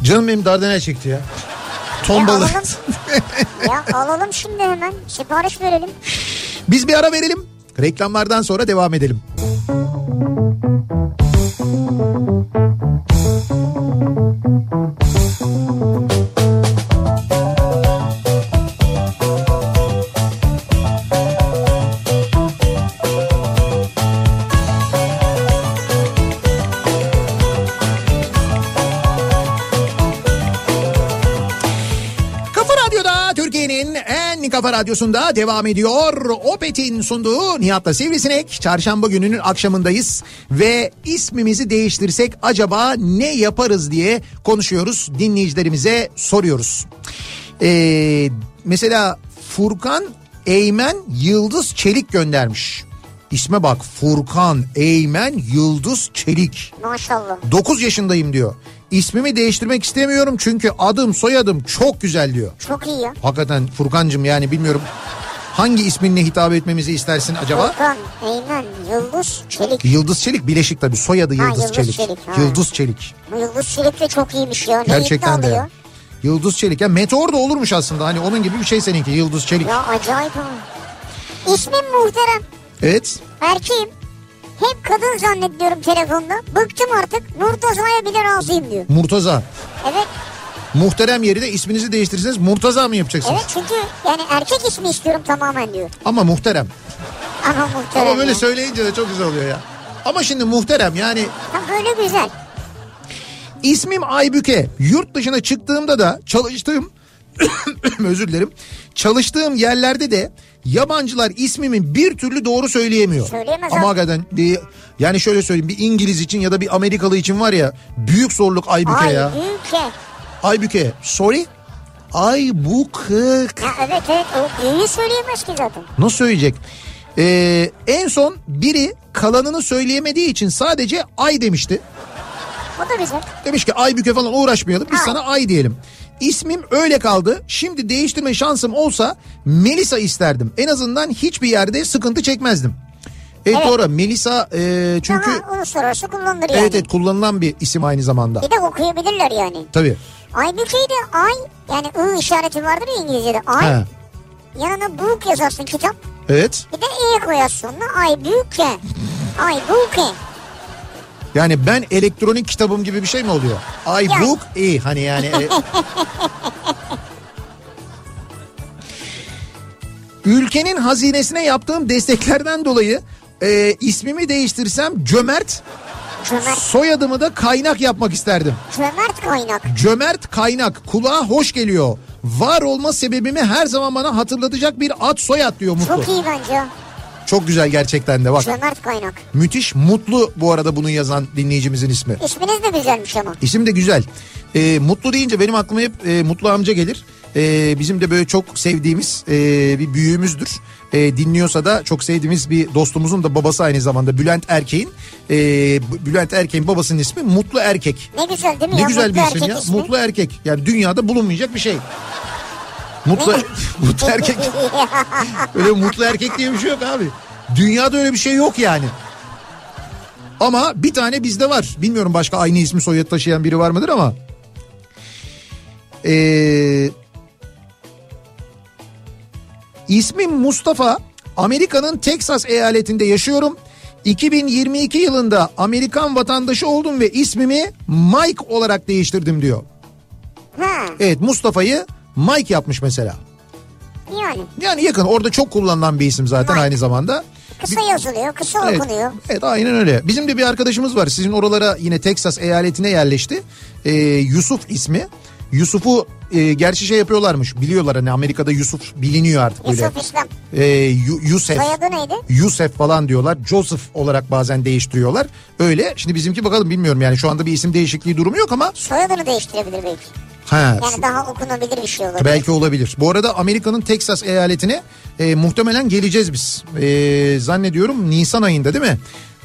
B: Canım benim dardanel çekti ya. Ton
C: Ya
B: balığı.
C: alalım.
B: [LAUGHS]
C: ya alalım şimdi hemen sipariş verelim.
B: Biz bir ara verelim. Reklamlardan sonra devam edelim. Türkiye'nin en kafa radyosunda devam ediyor. Opet'in sunduğu Nihat'la Sivrisinek. Çarşamba gününün akşamındayız ve ismimizi değiştirsek acaba ne yaparız diye konuşuyoruz. Dinleyicilerimize soruyoruz. Ee, mesela Furkan Eymen Yıldız Çelik göndermiş. İsme bak Furkan Eymen Yıldız Çelik.
C: Maşallah.
B: 9 yaşındayım diyor. İsmimi değiştirmek istemiyorum çünkü adım soyadım çok güzel diyor.
C: Çok iyi ya.
B: Hakikaten Furkancığım yani bilmiyorum hangi isminle hitap etmemizi istersin acaba?
C: Volkan, Eymen, Yıldız, Çelik.
B: Yıldız Çelik bileşik tabii soyadı
C: Ha,
B: Yıldız,
C: Yıldız
B: Çelik.
C: Çelik, ha.
B: Yıldız Çelik.
C: Bu Yıldız Çelik de çok iyiymiş ya. Ne
B: Gerçekten de.
C: iddialı ya.
B: yani. Yıldız Çelik. Ya meteor da olurmuş aslında. Hani onun gibi bir şey seninki Yıldız Çelik.
C: Ya acayip ama. İsmim muhterem.
B: Evet.
C: Erkeğim. Hep kadın zannediyorum telefonda. Bıktım artık. Murtaza'ya bile razıyım diyor.
B: Murtaza.
C: Evet.
B: Muhterem yeri de isminizi değiştirirseniz Murtaza mı yapacaksınız?
C: Evet çünkü yani erkek ismi istiyorum tamamen diyor.
B: Ama muhterem.
C: Ama muhterem.
B: Ama böyle
C: ya.
B: söyleyince de çok güzel oluyor ya. Ama şimdi muhterem yani
C: Ha, böyle güzel.
B: İsmim Aybüke. Yurt dışına çıktığımda da çalıştığım [COUGHS] özür dilerim. Çalıştığım yerlerde de yabancılar ismimin bir türlü doğru söyleyemiyor.
C: Söyleyemez abi.
B: Ama hakikaten bir, yani şöyle söyleyeyim bir İngiliz için ya da bir Amerikalı için var ya büyük zorluk Aybüke
C: Ay
B: ya.
C: büyüke.
B: Aybüke sorry. Aybüke.
C: Ya evet evet o büyüğü söyleyemez ki zaten.
B: Nasıl söyleyecek? Ee, en son biri kalanını söyleyemediği için sadece ay demişti.
C: O da güzel.
B: Demiş ki Aybüke falan uğraşmayalım biz
C: Ha.
B: sana Ay diyelim. İsmim öyle kaldı. Şimdi değiştirme şansım olsa Melisa isterdim. En azından hiçbir yerde sıkıntı çekmezdim. Evet,
C: Evet.
B: doğru Melisa e, çünkü
C: Ama uluslararası kullanılır yani.
B: evet evet kullanılan bir isim aynı zamanda.
C: Bir de okuyabilirler yani.
B: Tabii.
C: Aybüke'yi de ay yani ı işareti vardır ya İngilizce'de ay.
B: Ha.
C: Yanına book yazarsın kitap.
B: Evet.
C: Bir de e koyarsın sonuna ay büyüke. Ay büyüke.
B: Yani ben elektronik kitabım gibi bir şey mi oluyor?
C: Yani.
B: iBook iyi hani yani.
C: [LAUGHS]
B: e- Ülkenin hazinesine yaptığım desteklerden dolayı e, ismimi değiştirsem Cömert,
C: Cömert,
B: soyadımı da Kaynak yapmak isterdim.
C: cömert kaynak.
B: Cömert Kaynak kulağa hoş geliyor. Var olma sebebimi her zaman bana hatırlatacak bir ad soyad diyor Mutlu.
C: Çok iyi bence. o.
B: Çok güzel gerçekten de bak.
C: Cömert kaynak.
B: Müthiş Mutlu bu arada bunu yazan dinleyicimizin ismi.
C: İsminiz de güzelmiş ama.
B: İsim de güzel. Ee, mutlu deyince benim aklıma hep e, Mutlu amca gelir. Ee, bizim de böyle çok sevdiğimiz e, bir büyüğümüzdür. Ee, dinliyorsa da çok sevdiğimiz bir dostumuzun da babası aynı zamanda Bülent Erkek'in. Ee, B- Bülent Erkek'in babasının ismi Mutlu Erkek.
C: Ne güzel değil mi
B: Ne
C: ya?
B: güzel
C: Mutlu
B: bir isim
C: erkek
B: ya.
C: ismi. [LAUGHS]
B: Mutlu Erkek. Yani dünyada bulunmayacak bir şey. Mutlu, [LAUGHS] mutlu Erkek.
C: [LAUGHS]
B: Öyle Mutlu Erkek diye bir şey yok abi. Dünyada öyle bir şey yok yani. Ama bir tane bizde var. Bilmiyorum başka aynı ismi soyad taşıyan biri var mıdır ama. Ee, ismim Mustafa. Amerika'nın Teksas eyaletinde yaşıyorum. 2022 yılında Amerikan vatandaşı oldum ve ismimi Mike olarak değiştirdim diyor.
C: ha,
B: Evet Mustafa'yı Mike yapmış mesela.
C: yani
B: Yani yakın orada çok kullanılan bir isim zaten
C: Mike.
B: aynı zamanda.
C: kısa yazılıyor, kısa
B: Evet,
C: okunuyor.
B: evet aynen öyle. Bizim de bir arkadaşımız var. Sizin oralara yine Teksas eyaletine yerleşti. Ee, Yusuf ismi. Yusuf'u e, gerçi şey yapıyorlarmış. Biliyorlar hani Amerika'da Yusuf biliniyor artık böyle.
C: Yusuf İslam.
B: Ee, Yu- Yusef.
C: Soyadı neydi?
B: Yusef falan diyorlar. Joseph olarak bazen değiştiriyorlar. Öyle. Şimdi bizimki bakalım bilmiyorum yani şu anda bir isim değişikliği durumu yok ama.
C: Soyadını değiştirebilir belki.
B: Ha,
C: Yani daha okunabilir bir şey olur.
B: Belki olabilir. Bu arada Amerika'nın Teksas eyaletine e, muhtemelen geleceğiz biz. E, zannediyorum Nisan ayında değil mi?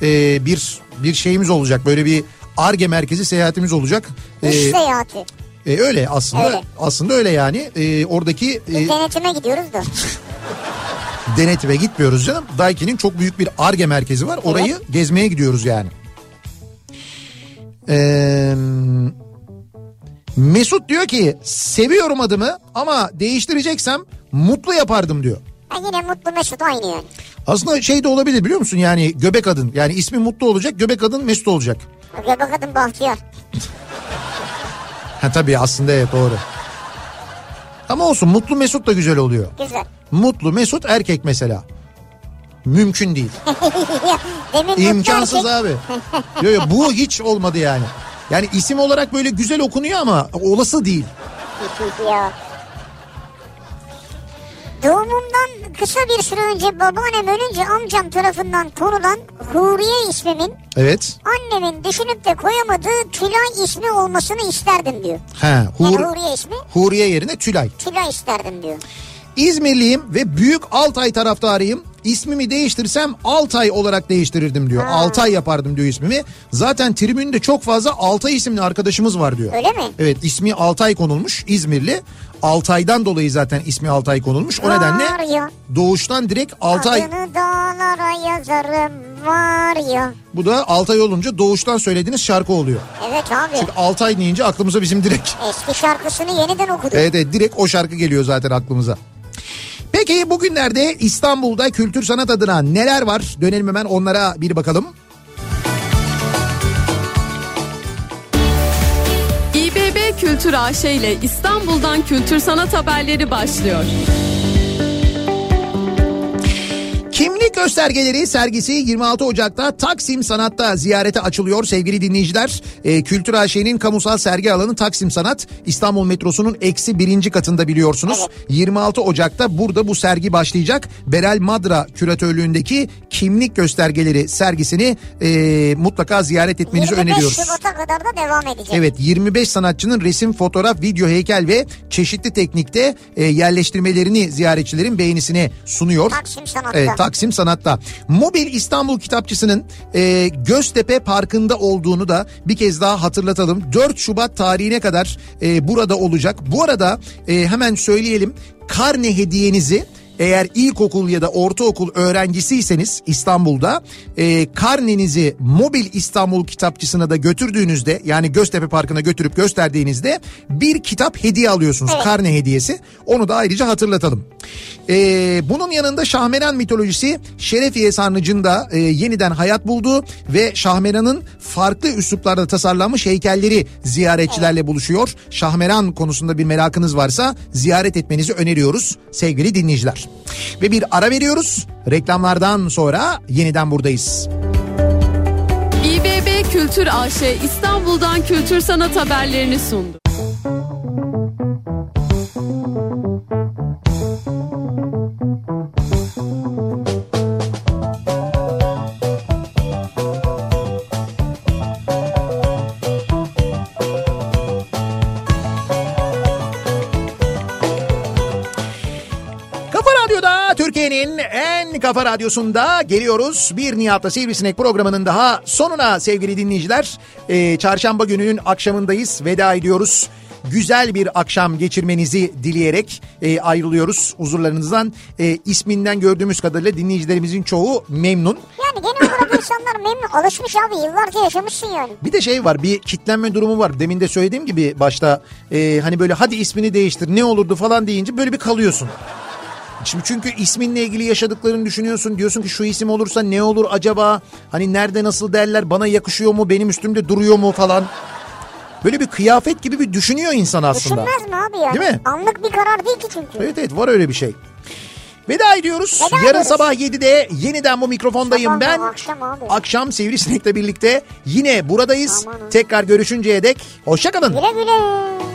B: E, bir bir şeyimiz olacak. Böyle bir Arge merkezi seyahatimiz olacak. E,
C: İş seyahati.
B: e, öyle aslında.
C: Öyle.
B: Aslında öyle yani. E, oradaki e,
C: Denetime gidiyoruz da.
B: denetime gitmiyoruz canım. Daiki'nin çok büyük bir ARGE merkezi var. Orayı gezmeye gidiyoruz yani. Ee, Mesut diyor ki seviyorum adımı ama değiştireceksem mutlu yapardım diyor.
C: Ha, yine Mutlu Mesut aynı yani.
B: Aslında şey de olabilir biliyor musun yani göbek adın yani ismi mutlu olacak göbek adın Mesut olacak.
C: Göbek kadın Bahtiyar.
B: Ha tabii aslında evet doğru. Ama olsun mutlu Mesut da güzel oluyor.
C: Güzel. [LAUGHS]
B: Mutlu Mesut erkek mesela. Mümkün değil.
C: Demin
B: İmkansız
C: mutlu erkek.
B: abi. Yo, yo, bu hiç olmadı yani. Yani isim olarak böyle güzel okunuyor ama olası değil.
C: ya. Doğumumdan kısa bir süre önce babaannem ölünce amcam tarafından konulan Huriye ismimin
B: Evet.
C: annemin düşünüp de koyamadığı Tülay ismi olmasını isterdim diyor.
B: Ha,
C: Yani
B: Hur,
C: Huriye ismi
B: Huriye yerine Tülay.
C: Tülay isterdim diyor.
B: İzmirliyim ve büyük Altay taraftarıyım. İsmimi değiştirsem Altay olarak değiştirirdim diyor. Altay yapardım diyor ismimi. Zaten tribünde çok fazla Altay isimli arkadaşımız var diyor.
C: Öyle mi?
B: Evet ismi Altay konulmuş İzmirli. Altay'dan dolayı zaten ismi Altay konulmuş. O nedenle
C: Var ya.
B: doğuştan direkt Altay.
C: Adını dağlara yazarım var ya.
B: Bu da Altay olunca doğuştan söylediğiniz şarkı oluyor.
C: Evet abi.
B: Çünkü Altay deyince aklımıza bizim direkt
C: Eski şarkısını yeniden okudu.
B: Evet, evet direkt o şarkı geliyor zaten aklımıza. Peki bugünlerde İstanbul'da kültür sanat adına neler var? Dönelim hemen onlara bir bakalım.
E: İBB Kültür AŞ ile İstanbul'dan kültür sanat haberleri başlıyor.
B: Kimlik göstergeleri sergisi 26 Ocak'ta Taksim Sanat'ta ziyarete açılıyor sevgili dinleyiciler. Ee, Kültür AŞ'nin kamusal sergi alanı Taksim Sanat İstanbul metrosunun eksi birinci katında biliyorsunuz. 26 Ocak'ta burada bu sergi başlayacak. Beral Madra küratörlüğündeki kimlik göstergeleri sergisini e, mutlaka ziyaret etmenizi
C: 25
B: öneriyoruz.
C: Şubat'a kadar da devam edecek.
B: Evet 25 sanatçının resim, fotoğraf, video, heykel ve çeşitli teknikte e, yerleştirmelerini ziyaretçilerin beğenisine sunuyor.
C: Taksim Sanat'ta.
B: Evet, Taksim Sanat'ta. Mobil İstanbul Kitapçısı'nın e, Göztepe Parkı'nda olduğunu da bir kez daha hatırlatalım. 4 Şubat tarihine kadar e, burada olacak. Bu arada e, hemen söyleyelim karne hediyenizi eğer ilkokul ya da ortaokul öğrencisiyseniz İstanbul'da e, karnenizi Mobil İstanbul Kitapçısı'na da götürdüğünüzde yani Göztepe Parkı'na götürüp gösterdiğinizde bir kitap hediye alıyorsunuz. Karne hediyesi. Onu da ayrıca hatırlatalım. E, bunun yanında Şahmeran mitolojisi Şerefiye Sarnıcı'nda e, yeniden hayat buldu ve Şahmeran'ın farklı üsluplarda tasarlanmış heykelleri ziyaretçilerle buluşuyor. Şahmeran konusunda bir merakınız varsa ziyaret etmenizi öneriyoruz sevgili dinleyiciler. Ve bir ara veriyoruz. Reklamlardan sonra yeniden buradayız.
E: İBB Kültür AŞ İstanbul'dan kültür sanat haberlerini sundu.
B: Kafa Radyo'da Türkiye'nin en kafa radyosunda geliyoruz. Bir Nihat'la Sivrisinek programının daha sonuna sevgili dinleyiciler. Ee, çarşamba gününün akşamındayız. Veda ediyoruz. Güzel bir akşam geçirmenizi dileyerek e, ayrılıyoruz huzurlarınızdan. E, isminden gördüğümüz kadarıyla dinleyicilerimizin çoğu memnun.
C: Yani genel olarak insanlar memnun. Alışmış abi yıllarca yaşamışsın yani.
B: Bir de şey var bir kitlenme durumu var. Demin de söylediğim gibi başta e, hani böyle hadi ismini değiştir ne olurdu falan deyince böyle bir kalıyorsun. Şimdi çünkü isminle ilgili yaşadıklarını düşünüyorsun. Diyorsun ki şu isim olursa ne olur acaba? Hani nerede nasıl derler? Bana yakışıyor mu? Benim üstümde duruyor mu falan? Böyle bir kıyafet gibi bir düşünüyor insan aslında.
C: Düşünmez mi abi yani?
B: Değil mi?
C: Anlık bir karar değil ki çünkü.
B: Evet evet var öyle bir şey. Veda ediyoruz.
C: Veda
B: Yarın
C: ediyoruz.
B: sabah 7'de yeniden bu mikrofondayım
C: Sabah
B: ben.
C: mı, akşam abi?
B: Akşam Sivrisinek'le birlikte yine buradayız.
C: Aman ha.
B: Tekrar görüşünceye dek hoşçakalın.
C: Güle güle.